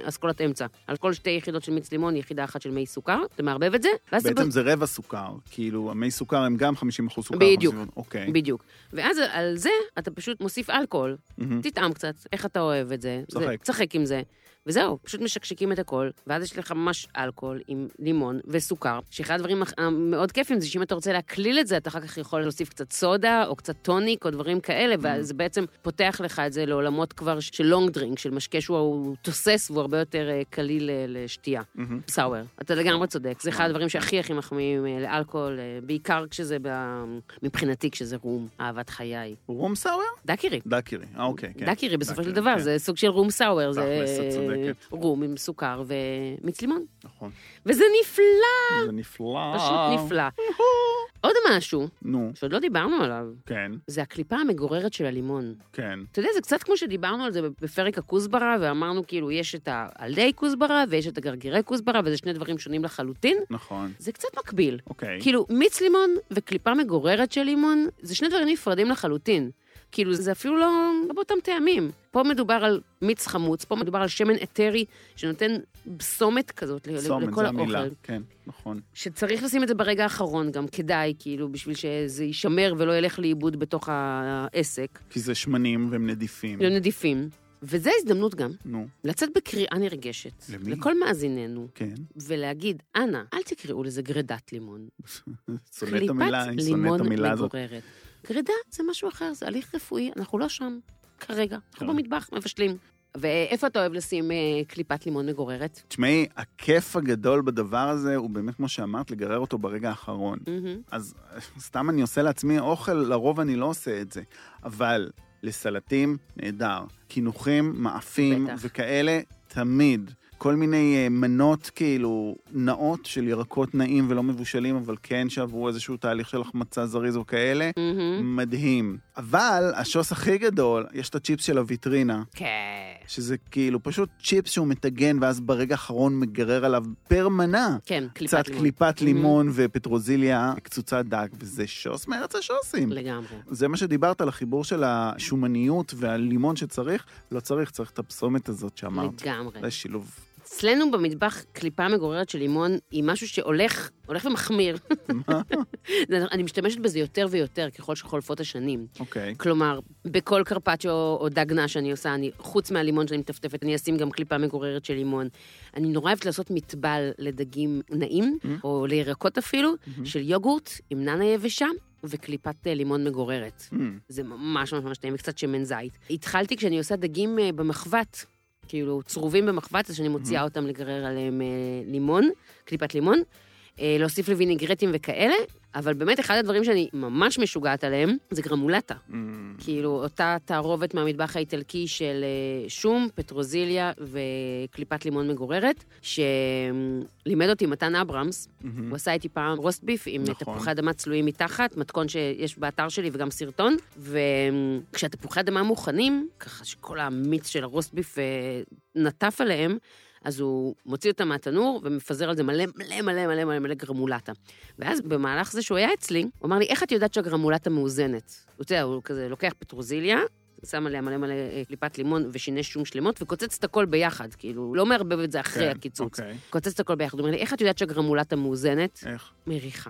מאסכולת אמצע, על כל שתי יחידות של מיץ לימון, יחידה אחת של מי סוכר, אתה מערבב את זה, ואז אתה
בעצם זה רבע סוכר, כאילו, המי סוכר הם גם 50% סוכר.
בדיוק.
50%, אוקיי.
בדיוק. ואז על זה אתה פשוט מוסיף אלכוהול.
מהמם.
תטעם קצת, איך אתה אוהב את זה.
שחק.
זה- תשחק עם זה. וזהו, פשוט משקשקים את הכל, ואז יש לך ממש אלכוהול עם לימון וסוכר, שאחד הדברים הכ- המאוד כיפים זה שאם אתה רוצה להקליל את זה, אתה אחר כך יכול להוסיף קצת סודה, או קצת טוניק, או דברים כאלה, וזה בעצם פותח לך את זה לעולמות כבר של לונג דרינק, של משקה שהוא הוא תוסס והוא הרבה יותר אה, קליל אה, לשתייה.
מהמם.
סאואר, אתה
כן.
לגמרי צודק, זה אחד הדברים שהכי הכי מחמיאים אה, לאלכוהול, אה, בעיקר כשזה, ב- מבחינתי, כשזה רום, אהבת חיי.
רום סאואר?
דקירי.
דקירי, אה, אוקיי, כן.
דקירי בסופו של
דקירי,
דבר,
כן.
זה סוג של רום סאואר, זה אה,
תכלס, את צודקת.
רום עם סוכר ומיץ לימון.
נכון.
וזה נפלא,
זה נפלא.
אה, פשוט נפלא. עוד משהו
נו,
שעוד לא דיברנו עליו,
כן,
זה הקליפה המגוררת של הלימון.
כן.
אתה יודע, זה קצת כמו שדיברנו על זה בפרק הכוסברה, ואמרנו כאילו, יש את העלי כוסברה ויש את הגרגירי כוסברה, וזה שני דברים שונים לחלוטין.
נכון,
זה קצת מקביל.
אוקיי.
כאילו, מיץ לימון וקליפה מגוררת של לימון, זה שני דברים נפרדים לחלוטין. כאילו, זה אפילו לא, לא באותם טעמים. פה מדובר על מיץ חמוץ, פה מדובר על שמן אתרי, שנותן פסומת כזאת ל-
צומת,
לכל
זו
האוכל.
המילה. כן, נכון.
שצריך לשים את זה ברגע האחרון גם, כדאי, כאילו, בשביל שזה יישמר ולא ילך לאיבוד בתוך העסק.
כי זה שמנים והם נדיפים.
לא נדיפים. וזו הזדמנות גם
נו,
לצאת בקריאה נרגשת.
למי?
לכל מאזיננו,
כן.
ולהגיד, אנא, אל תקראו לזה גרידת לימון.
שונא את המילה, אני שונא את
לימון
המילה הזאת.
מגוררת. גרידה זה משהו אחר, זה הליך רפואי, אנחנו לא שם כרגע. אנחנו
כן.
במטבח, מבשלים. ואיפה אתה אוהב לשים אה, קליפת לימון מגוררת?
תשמעי, הכיף הגדול בדבר הזה הוא באמת, כמו שאמרת, לגרר אותו ברגע האחרון.
מהמם.
אז סתם אני עושה לעצמי אוכל, לרוב אני לא עושה את זה. אבל לסלטים, נהדר. קינוחים, מאפים
בטח.
וכאלה, תמיד. כל מיני אה, מנות כאילו נאות של ירקות נעים ולא מבושלים, אבל כן שעברו איזשהו תהליך של החמצה זריז או כאלה.
מהמם.
מדהים. אבל השוס הכי גדול, יש את הצ'יפס של הוויטרינה,
כן.
שזה כאילו פשוט צ'יפס שהוא מטגן, ואז ברגע האחרון מגרר עליו פר מנה.
כן,
קצת
קליפת לימון.
קליפת לימון ופטרוזיליה, קצוצת דק, וזה שוס מארץ השוסים.
לגמרי.
זה מה שדיברת על החיבור של השומניות והלימון שצריך, לא צריך, צריך את הפסומת הזאת שאמרת.
לגמרי.
זה שילוב
אצלנו במטבח קליפה מגוררת של לימון היא משהו שהולך, הולך ומחמיר.
מה?
אני משתמשת בזה יותר ויותר ככל שחולפות השנים.
אוקיי.
כלומר, בכל קרפצ'ו או דגנה שאני עושה, אני, חוץ מהלימון שאני מטפטפת, אני אשים גם קליפה מגוררת של לימון. אני נורא אוהבת לעשות מטבל לדגים נעים,
Mm.
או לירקות אפילו,
Mm-hmm.
של יוגורט עם ננה יבשה וקליפת אה, לימון מגוררת.
Hmm,
זה ממש ממש ממש טעים, וקצת שמן זית. התחלתי כשאני עושה דגים אה, במחבת, כאילו צרובים במחבת, אז שאני מוציאה אותם לגרר עליהם אה, לימון, קליפת לימון, אה, להוסיף לווינגרטים וכאלה, אבל באמת אחד הדברים שאני ממש משוגעת עליהם זה גרמולטה.
hmm.
כאילו, אותה תערובת מהמטבח האיטלקי של אה, שום, פטרוזיליה וקליפת לימון מגוררת, שלימד אותי מתן אברהמס.
מהמם.
הוא עשה איתי פעם רוסט ביף עם
Mm-hmm. נכון.
תפוחי אדמה צלויים מתחת, מתכון שיש באתר שלי וגם סרטון. וכשהתפוחי אדמה מוכנים, ככה שכל המיץ של הרוסט ביף אה, נטף עליהם, אז הוא מוציא אותם מהתנור ומפזר על זה מלא מלא מלא מלא מלא מלא גרמולטה. ואז במהלך זה שהוא היה אצלי, הוא אמר לי, איך את יודעת שהגרמולטה מאוזנת? הוא יודע, הוא כזה לוקח פטרוזיליה, שם עליה מלא מלא אה, קליפת לימון ושיני שום שלמות, וקוצץ את הכל ביחד, כאילו, הוא לא מערבב את זה אחרי
כן,
הקיצוץ.
אוקיי.
קוצץ את הכל ביחד, הוא אומר לי, איך את יודעת שהגרמולטה מאוזנת?
איך?
מריחה.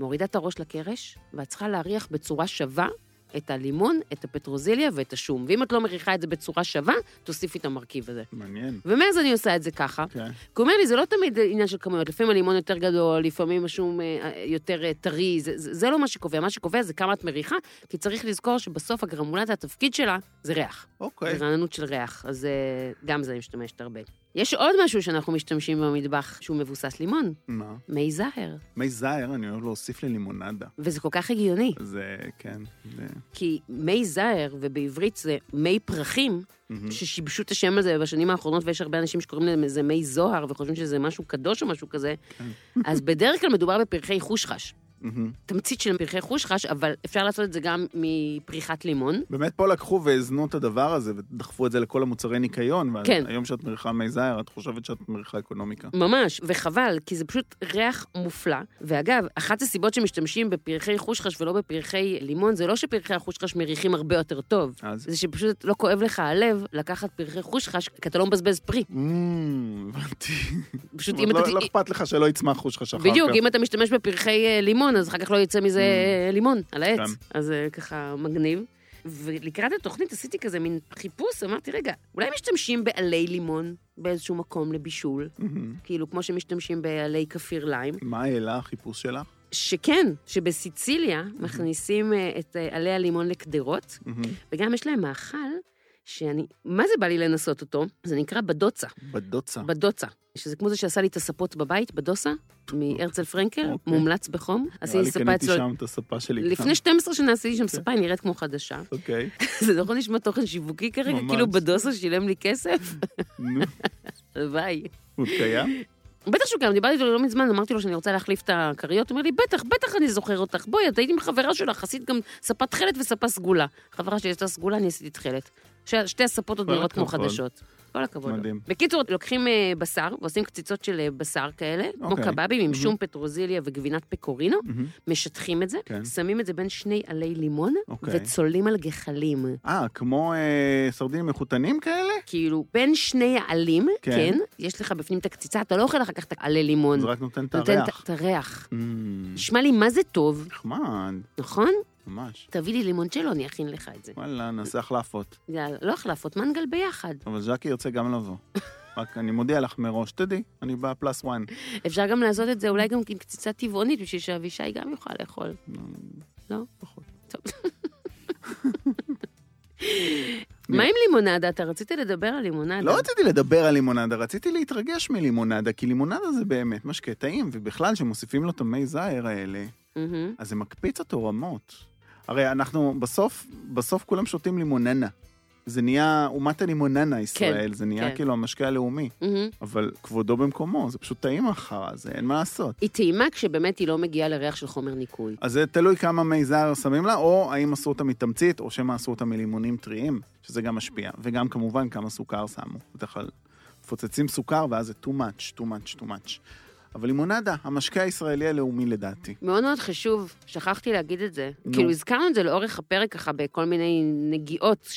מורידה את הראש לקרש, ואת צריכה להריח בצורה שווה את הלימון, את הפטרוזיליה ואת השום. ואם את לא מריחה את זה בצורה שווה, תוסיפי את המרכיב הזה.
מעניין.
ומאז אני עושה את זה ככה.
כן.
כי הוא אומר לי, זה לא תמיד עניין של כמויות, לפעמים הלימון יותר גדול, לפעמים השום אה, אה, יותר אה, טרי, זה, זה, זה לא מה שקובע, מה שקובע זה כמה את מריחה, כי צריך לזכור שבסוף הגרמולת, התפקיד שלה זה ריח, זה
אוקיי.
רעננות של ריח, אז אה, גם זה אני משתמשת הרבה. יש עוד משהו שאנחנו משתמשים במטבח שהוא מבוסס לימון,
מה?
מי זהר,
מי זייר אני אוהב להוסיף ללימונדה.
וזה כל כך הגיוני,
זה, כן. זה-
כי מי זהר, ובעברית זה מי פרחים,
מהמם.
ששיבשו את השם הזה בשנים האחרונות, ויש הרבה אנשים שקוראים לזה מי זוהר, וחושבים שזה משהו קדוש או משהו כזה, אז בדרך כלל מדובר בפרחי חושחש.
מהמם.
תמצית של פרחי חושחש, אבל אפשר לעשות את זה גם מפריחת לימון.
באמת פה לקחו והזנו את הדבר הזה ודחפו את זה לכל המוצרי ניקיון,
כן.
והיום שאת מריחה מי זייר, את חושבת שאת מריחה אקונומיקה.
ממש, וחבל, כי זה פשוט ריח מופלא. ואגב, אחת הסיבות שמשתמשים בפרחי חושחש ולא בפרחי לימון, זה לא שפרחי החושחש מריחים הרבה יותר טוב,
אז...
זה שפשוט לא כואב לך הלב לקחת פרחי חושחש, כי אתה לא מבזבז פרי.
אמ, הבנתי.
פשוט
אבל
אם
לא
אתה...
לא אכפת לך שלא יצמח חוש חש אחר כך. Mm.
בדיוק, אם אתה משתמש בפרחי אה, לימון, אז אחר כך לא יצא מזה אה, לימון על העץ.
כן.
אז אה, ככה מגניב. ולקראת התוכנית עשיתי כזה מין חיפוש, אמרתי, רגע, אולי משתמשים בעלי לימון באיזשהו מקום לבישול,
מהמם.
כאילו כמו שמשתמשים בעלי כפיר ליים,
Mm-hmm. מה העלה החיפוש שלך?
שכן, שבסיציליה מכניסים אה, את אה, עלי הלימון לקדרות,
מהמם.
וגם יש להם מאכל שאני, מה זה בא לי לנסות אותו? זה נקרא בדוצה.
בדוצה.
בדוצה, שזה כמו זה שעשה לי את הספות בבית, בדוסה, מהרצל פרנקל,
אוקיי.
מומלץ בחום.
נראה
עשיתי
לי
ספה
קניתי
אצלו.
שם אוקיי. את הספה שלי.
לפני 12 שנה עשיתי שם ספה, היא נראית כמו חדשה.
אוקיי.
זה נכון נשמע תוכן שיווקי כרגע?
ממש.
כאילו בדוסה שילם לי כסף?
נו,
הלוואי.
הוא קיים?
בטח שהוא קיים, דיברתי איתו לא מזמן, אמרתי לו שאני רוצה להחליף את הכריות, הוא אומר לי, בטח, בטח אני זוכר אותך, בואי, את היית עם חברה שלך, עשית גם ספה תכלת וספה סגולה. חברה שלי עשתה סגולה, אני עשיתי תכלת. ש- שתי הספות עוד
כל
נראות כמו
הכבוד.
חדשות. כל הכבוד. לו.
מדהים.
בקיצור, לוקחים אה, בשר ועושים קציצות של אה, בשר כאלה, כמו
אוקיי.
קבבים עם
מהמם.
שום פטרוזיליה וגבינת פקורינו,
מהמם.
משטחים את זה,
כן.
שמים את זה בין שני עלי לימון,
אוקיי.
וצוללים על גחלים.
אה, כמו אה, סרדינים מחותנים כאלה?
כאילו, בין שני העלים,
כן.
כן, יש לך בפנים את הקציצה, אתה לא אוכל אחר כך את העלי לימון.
זה רק נותן את
נותן
הריח.
את הריח.
אמ,
נשמע לי מה זה טוב,
נחמד,
נכון?
ממש.
תביא לי לימונצ'לו, אני אכין לך את זה.
וואלה, נעשה החלפות.
יאללה, לא החלפות, מנגל ביחד.
אבל ז'קי ירצה גם לבוא. רק אני מודיע לך מראש, תדעי, אני בא פלאס וואן.
אפשר גם לעשות את זה אולי גם עם קציצה טבעונית, בשביל שאבישי גם יוכל לאכול. לא?
פחות.
טוב. מה עם לימונדה? אתה רצית לדבר על לימונדה.
לא רציתי לדבר על לימונדה, רציתי להתרגש מלימונדה, כי לימונדה זה באמת משקה טעים, ובכלל, כשמוסיפים לו את המי זעיר האלה,
מהמם.
אז זה מקפיץ אותו רמות. הרי אנחנו בסוף, בסוף כולם שותים לימוננה. זה נהיה אומת הלימוננה ישראל, זה נהיה
כן.
כאילו המשקה הלאומי.
מהמם.
אבל כבודו במקומו, זה פשוט טעים החרא הזה, אין מה לעשות.
היא טעימה כשבאמת היא לא מגיעה לריח של חומר ניקוי.
אז זה תלוי כמה מי זר שמים לה, או האם עשו אותה מתמצית, או שמא עשו אותה מלימונים טריים, שזה גם משפיע. וגם כמובן כמה סוכר שמו. בדרך כלל מפוצצים סוכר ואז זה too much, too much, too much. אבל לימונדה, המשקה הישראלי הלאומי לדעתי.
מאוד מאוד חשוב, שכחתי להגיד את זה.
נו.
כאילו, הזכרנו את זה לאורך הפרק ככה בכל מיני נגיעות,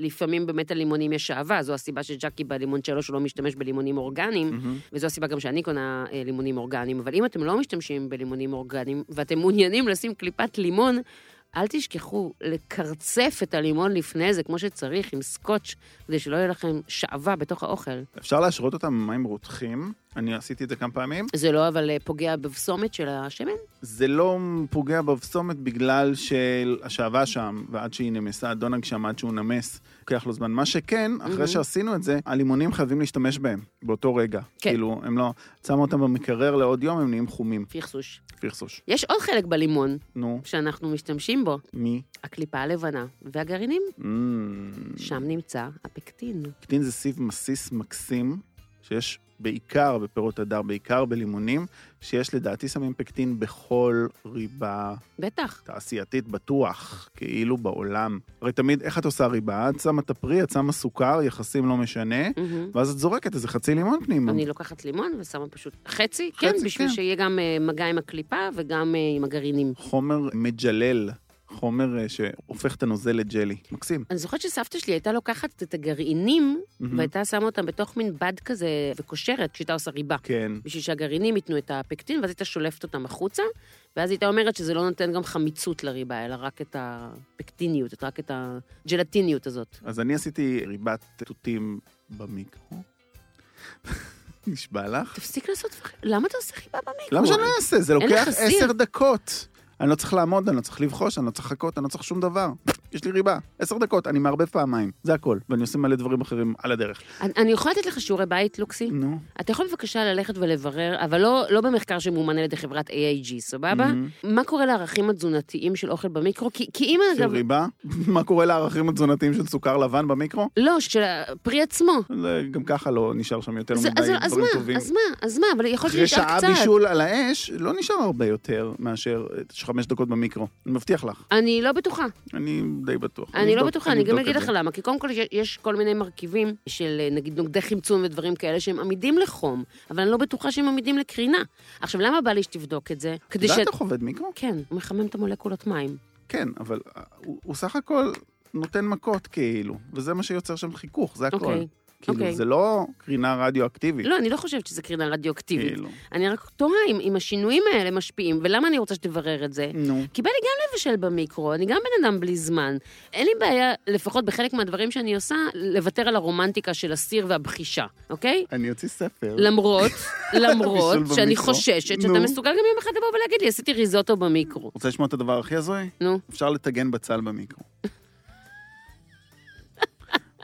שלפעמים באמת הלימונים יש שעווה, זו הסיבה שג'קי בלימונצ'לו שלו לא משתמש בלימונים אורגניים,
מהמם.
וזו הסיבה גם שאני קונה אה, לימונים אורגניים, אבל אם אתם לא משתמשים בלימונים אורגניים, ואתם מעוניינים לשים קליפת לימון, אל תשכחו לקרצף את הלימון לפני זה, כמו שצריך, עם סקוץ', כדי שלא יהיה לכם שעווה בתוך האוכל.
אפשר להשרות אותה במים רותחים, אני עשיתי את זה כמה פעמים.
זה לא אבל אה, פוגע בבשומת של השמן?
זה לא פוגע בבשומת בגלל שהשאבה שם, ועד שהיא נמסה, הדונג שם, עד שהוא נמס, לוקח לו זמן. מה שכן,
מהמם.
אחרי שעשינו את זה, הלימונים חייבים להשתמש בהם, באותו רגע.
כן.
כאילו, הם לא... שמו אותם במקרר לעוד יום, הם נהיים חומים.
פרסוש.
פרסוש.
יש עוד חלק בלימון
נו,
שאנחנו משתמשים בו.
מי?
הקליפה הלבנה והגרעינים,
אמ,
שם נמצא הפקטין.
קטין זה סיב מסיס מקסים, שיש בעיקר בפירות הדר, בעיקר בלימונים, שיש לדעתי שמים פקטין בכל ריבה
בטח.
תעשייתית בטוח, כאילו בעולם. הרי תמיד, איך את עושה ריבה? את שמה את הפרי, את שמה סוכר, יחסים לא משנה,
מהמם.
ואז את זורקת איזה חצי לימון פנימה.
אני לוקחת לימון ושמה פשוט חצי, כן, בשביל
כן.
שיהיה גם אה, מגע עם הקליפה וגם אה, עם הגרעינים.
חומר מג'לל, חומר אה, שהופך את הנוזל לג'לי. מקסים.
אני זוכרת שסבתא שלי הייתה לוקחת את הגרעינים
מהמם.
והייתה שמה אותם בתוך מין בד כזה וקושרת כשהייתה עושה ריבה.
כן.
בשביל שהגרעינים ייתנו את הפקטין, ואז הייתה שולפת אותם החוצה, ואז הייתה אומרת שזה לא נותן גם חמיצות לריבה, אלא רק את הפקטיניות, את- רק את הג'לטיניות הזאת.
אז אני עשיתי ריבת תותים במיקרו. נשבע לך?
תפסיק לעשות... למה אתה עושה חיבה במיקרו?
למה שאני לא אעשה? זה
אין
לוקח
לך סיר.
עשר דקות. אני לא צריך לעמוד, אני לא צריך לבחוש, אני לא צריך לחכות, אני לא צריך שום דבר. יש לי ריבה. עשר דקות, אני מערבב פעמיים. זה הכל. ואני עושה מלא דברים אחרים על הדרך.
אני, אני יכולה לתת לך שיעורי בית, לוקסי?
נו.
אתה יכול בבקשה ללכת ולברר, אבל לא, לא במחקר שמומן על ידי חברת AIG, סבבה?
מהמם.
מה קורה לערכים התזונתיים של אוכל במיקרו? כי, כי אם...
של ריבה? מה קורה לערכים התזונתיים של סוכר לבן במיקרו?
לא, של הפרי עצמו.
זה גם ככה לא נשאר שם יותר
אז,
מדי
אז, אז
דברים
מה,
טובים.
אז מה, אז מה, אבל יכול
אחרי
להיות שנשאר
שעה
קצת.
בישול על האש, לא נשאר הרבה יותר מאשר אה, חמש דקות במיקרו. אני מבטיח לך.
אני לא בטוחה.
אני די בטוח.
אני לא
אבדוק-
בטוחה, אני גם
אבדוק
אגיד
את זה.
לך למה. כי קודם כל יש- יש כל מיני מרכיבים של אה, נגיד נוגדי חמצון ודברים כאלה שהם עמידים לחום, אבל אני לא בטוחה שהם עמידים לקרינה. עכשיו, למה בא לי שתבדוק את זה?
את
כדי ש...
יודעת איך עובד מיקרו?
כן, הוא מחמם את המולקולות מים.
כן, אבל אה, הוא הוא סך הכל נותן מכות כאילו, וזה מה שיוצר שם חיכוך, זה הכל.
אוקיי.
כאילו,
אוקיי.
זה לא קרינה רדיואקטיבית.
לא, אני לא חושבת שזה קרינה רדיואקטיבית.
כאילו.
אני רק תוהה אם, אם השינויים האלה משפיעים, ולמה אני רוצה שתברר את זה?
נו.
כי בא לי גם לבשל במיקרו, אני גם בן אדם בלי זמן. אין לי בעיה, לפחות בחלק מהדברים שאני עושה, לוותר על הרומנטיקה של הסיר והבחישה, אוקיי?
אני אוציא ספר.
למרות, למרות
הבישול
שאני
במיקרו.
חוששת שאתה
נו.
מסוגל גם יום אחד לבוא ולהגיד לי, עשיתי ריזוטו במיקרו.
רוצה לשמוע את הדבר הכי הזוי?
נו.
אפשר לטגן בצל במיקרו.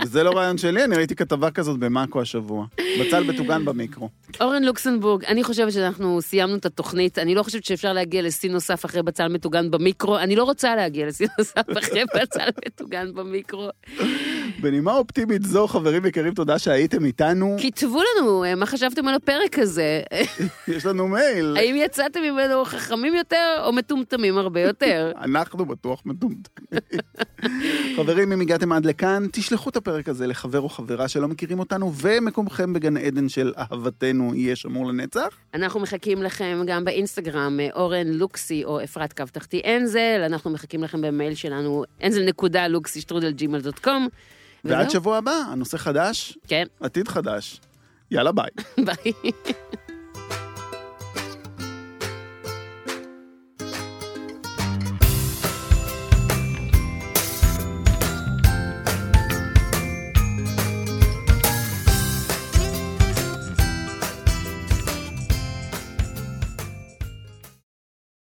וזה לא רעיון שלי, אני ראיתי כתבה כזאת במאקו השבוע. בצל בטוגן במיקרו.
אורן לוקסנבורג, אני חושבת שאנחנו סיימנו את התוכנית, אני לא חושבת שאפשר להגיע לשיא נוסף אחרי בצל מטוגן במיקרו, אני לא רוצה להגיע לשיא נוסף אחרי בצל מטוגן במיקרו.
בנימה אופטימית זו, חברים יקרים, תודה שהייתם איתנו.
כתבו לנו אה, מה חשבתם על הפרק הזה,
יש לנו מייל.
האם יצאתם ממנו חכמים יותר או מטומטמים הרבה יותר?
אנחנו בטוח מטומטמים. חברים, אם הגעתם עד לכאן, תשלחו את הפרק הזה לחבר או חברה שלא מכירים אותנו, ומקומכם בגן עדן של אהבתנו יהיה שמור לנצח.
אנחנו מחכים לכם גם באינסטגרם, אה, אורן לוקסי או אפרת קו תחתי אנזל, אנחנו מחכים לכם במייל שלנו, anzel.luxi@gmail.com.
ועד
וזהו.
שבוע הבא, הנושא חדש,
כן,
עתיד חדש. יאללה, ביי.
ביי.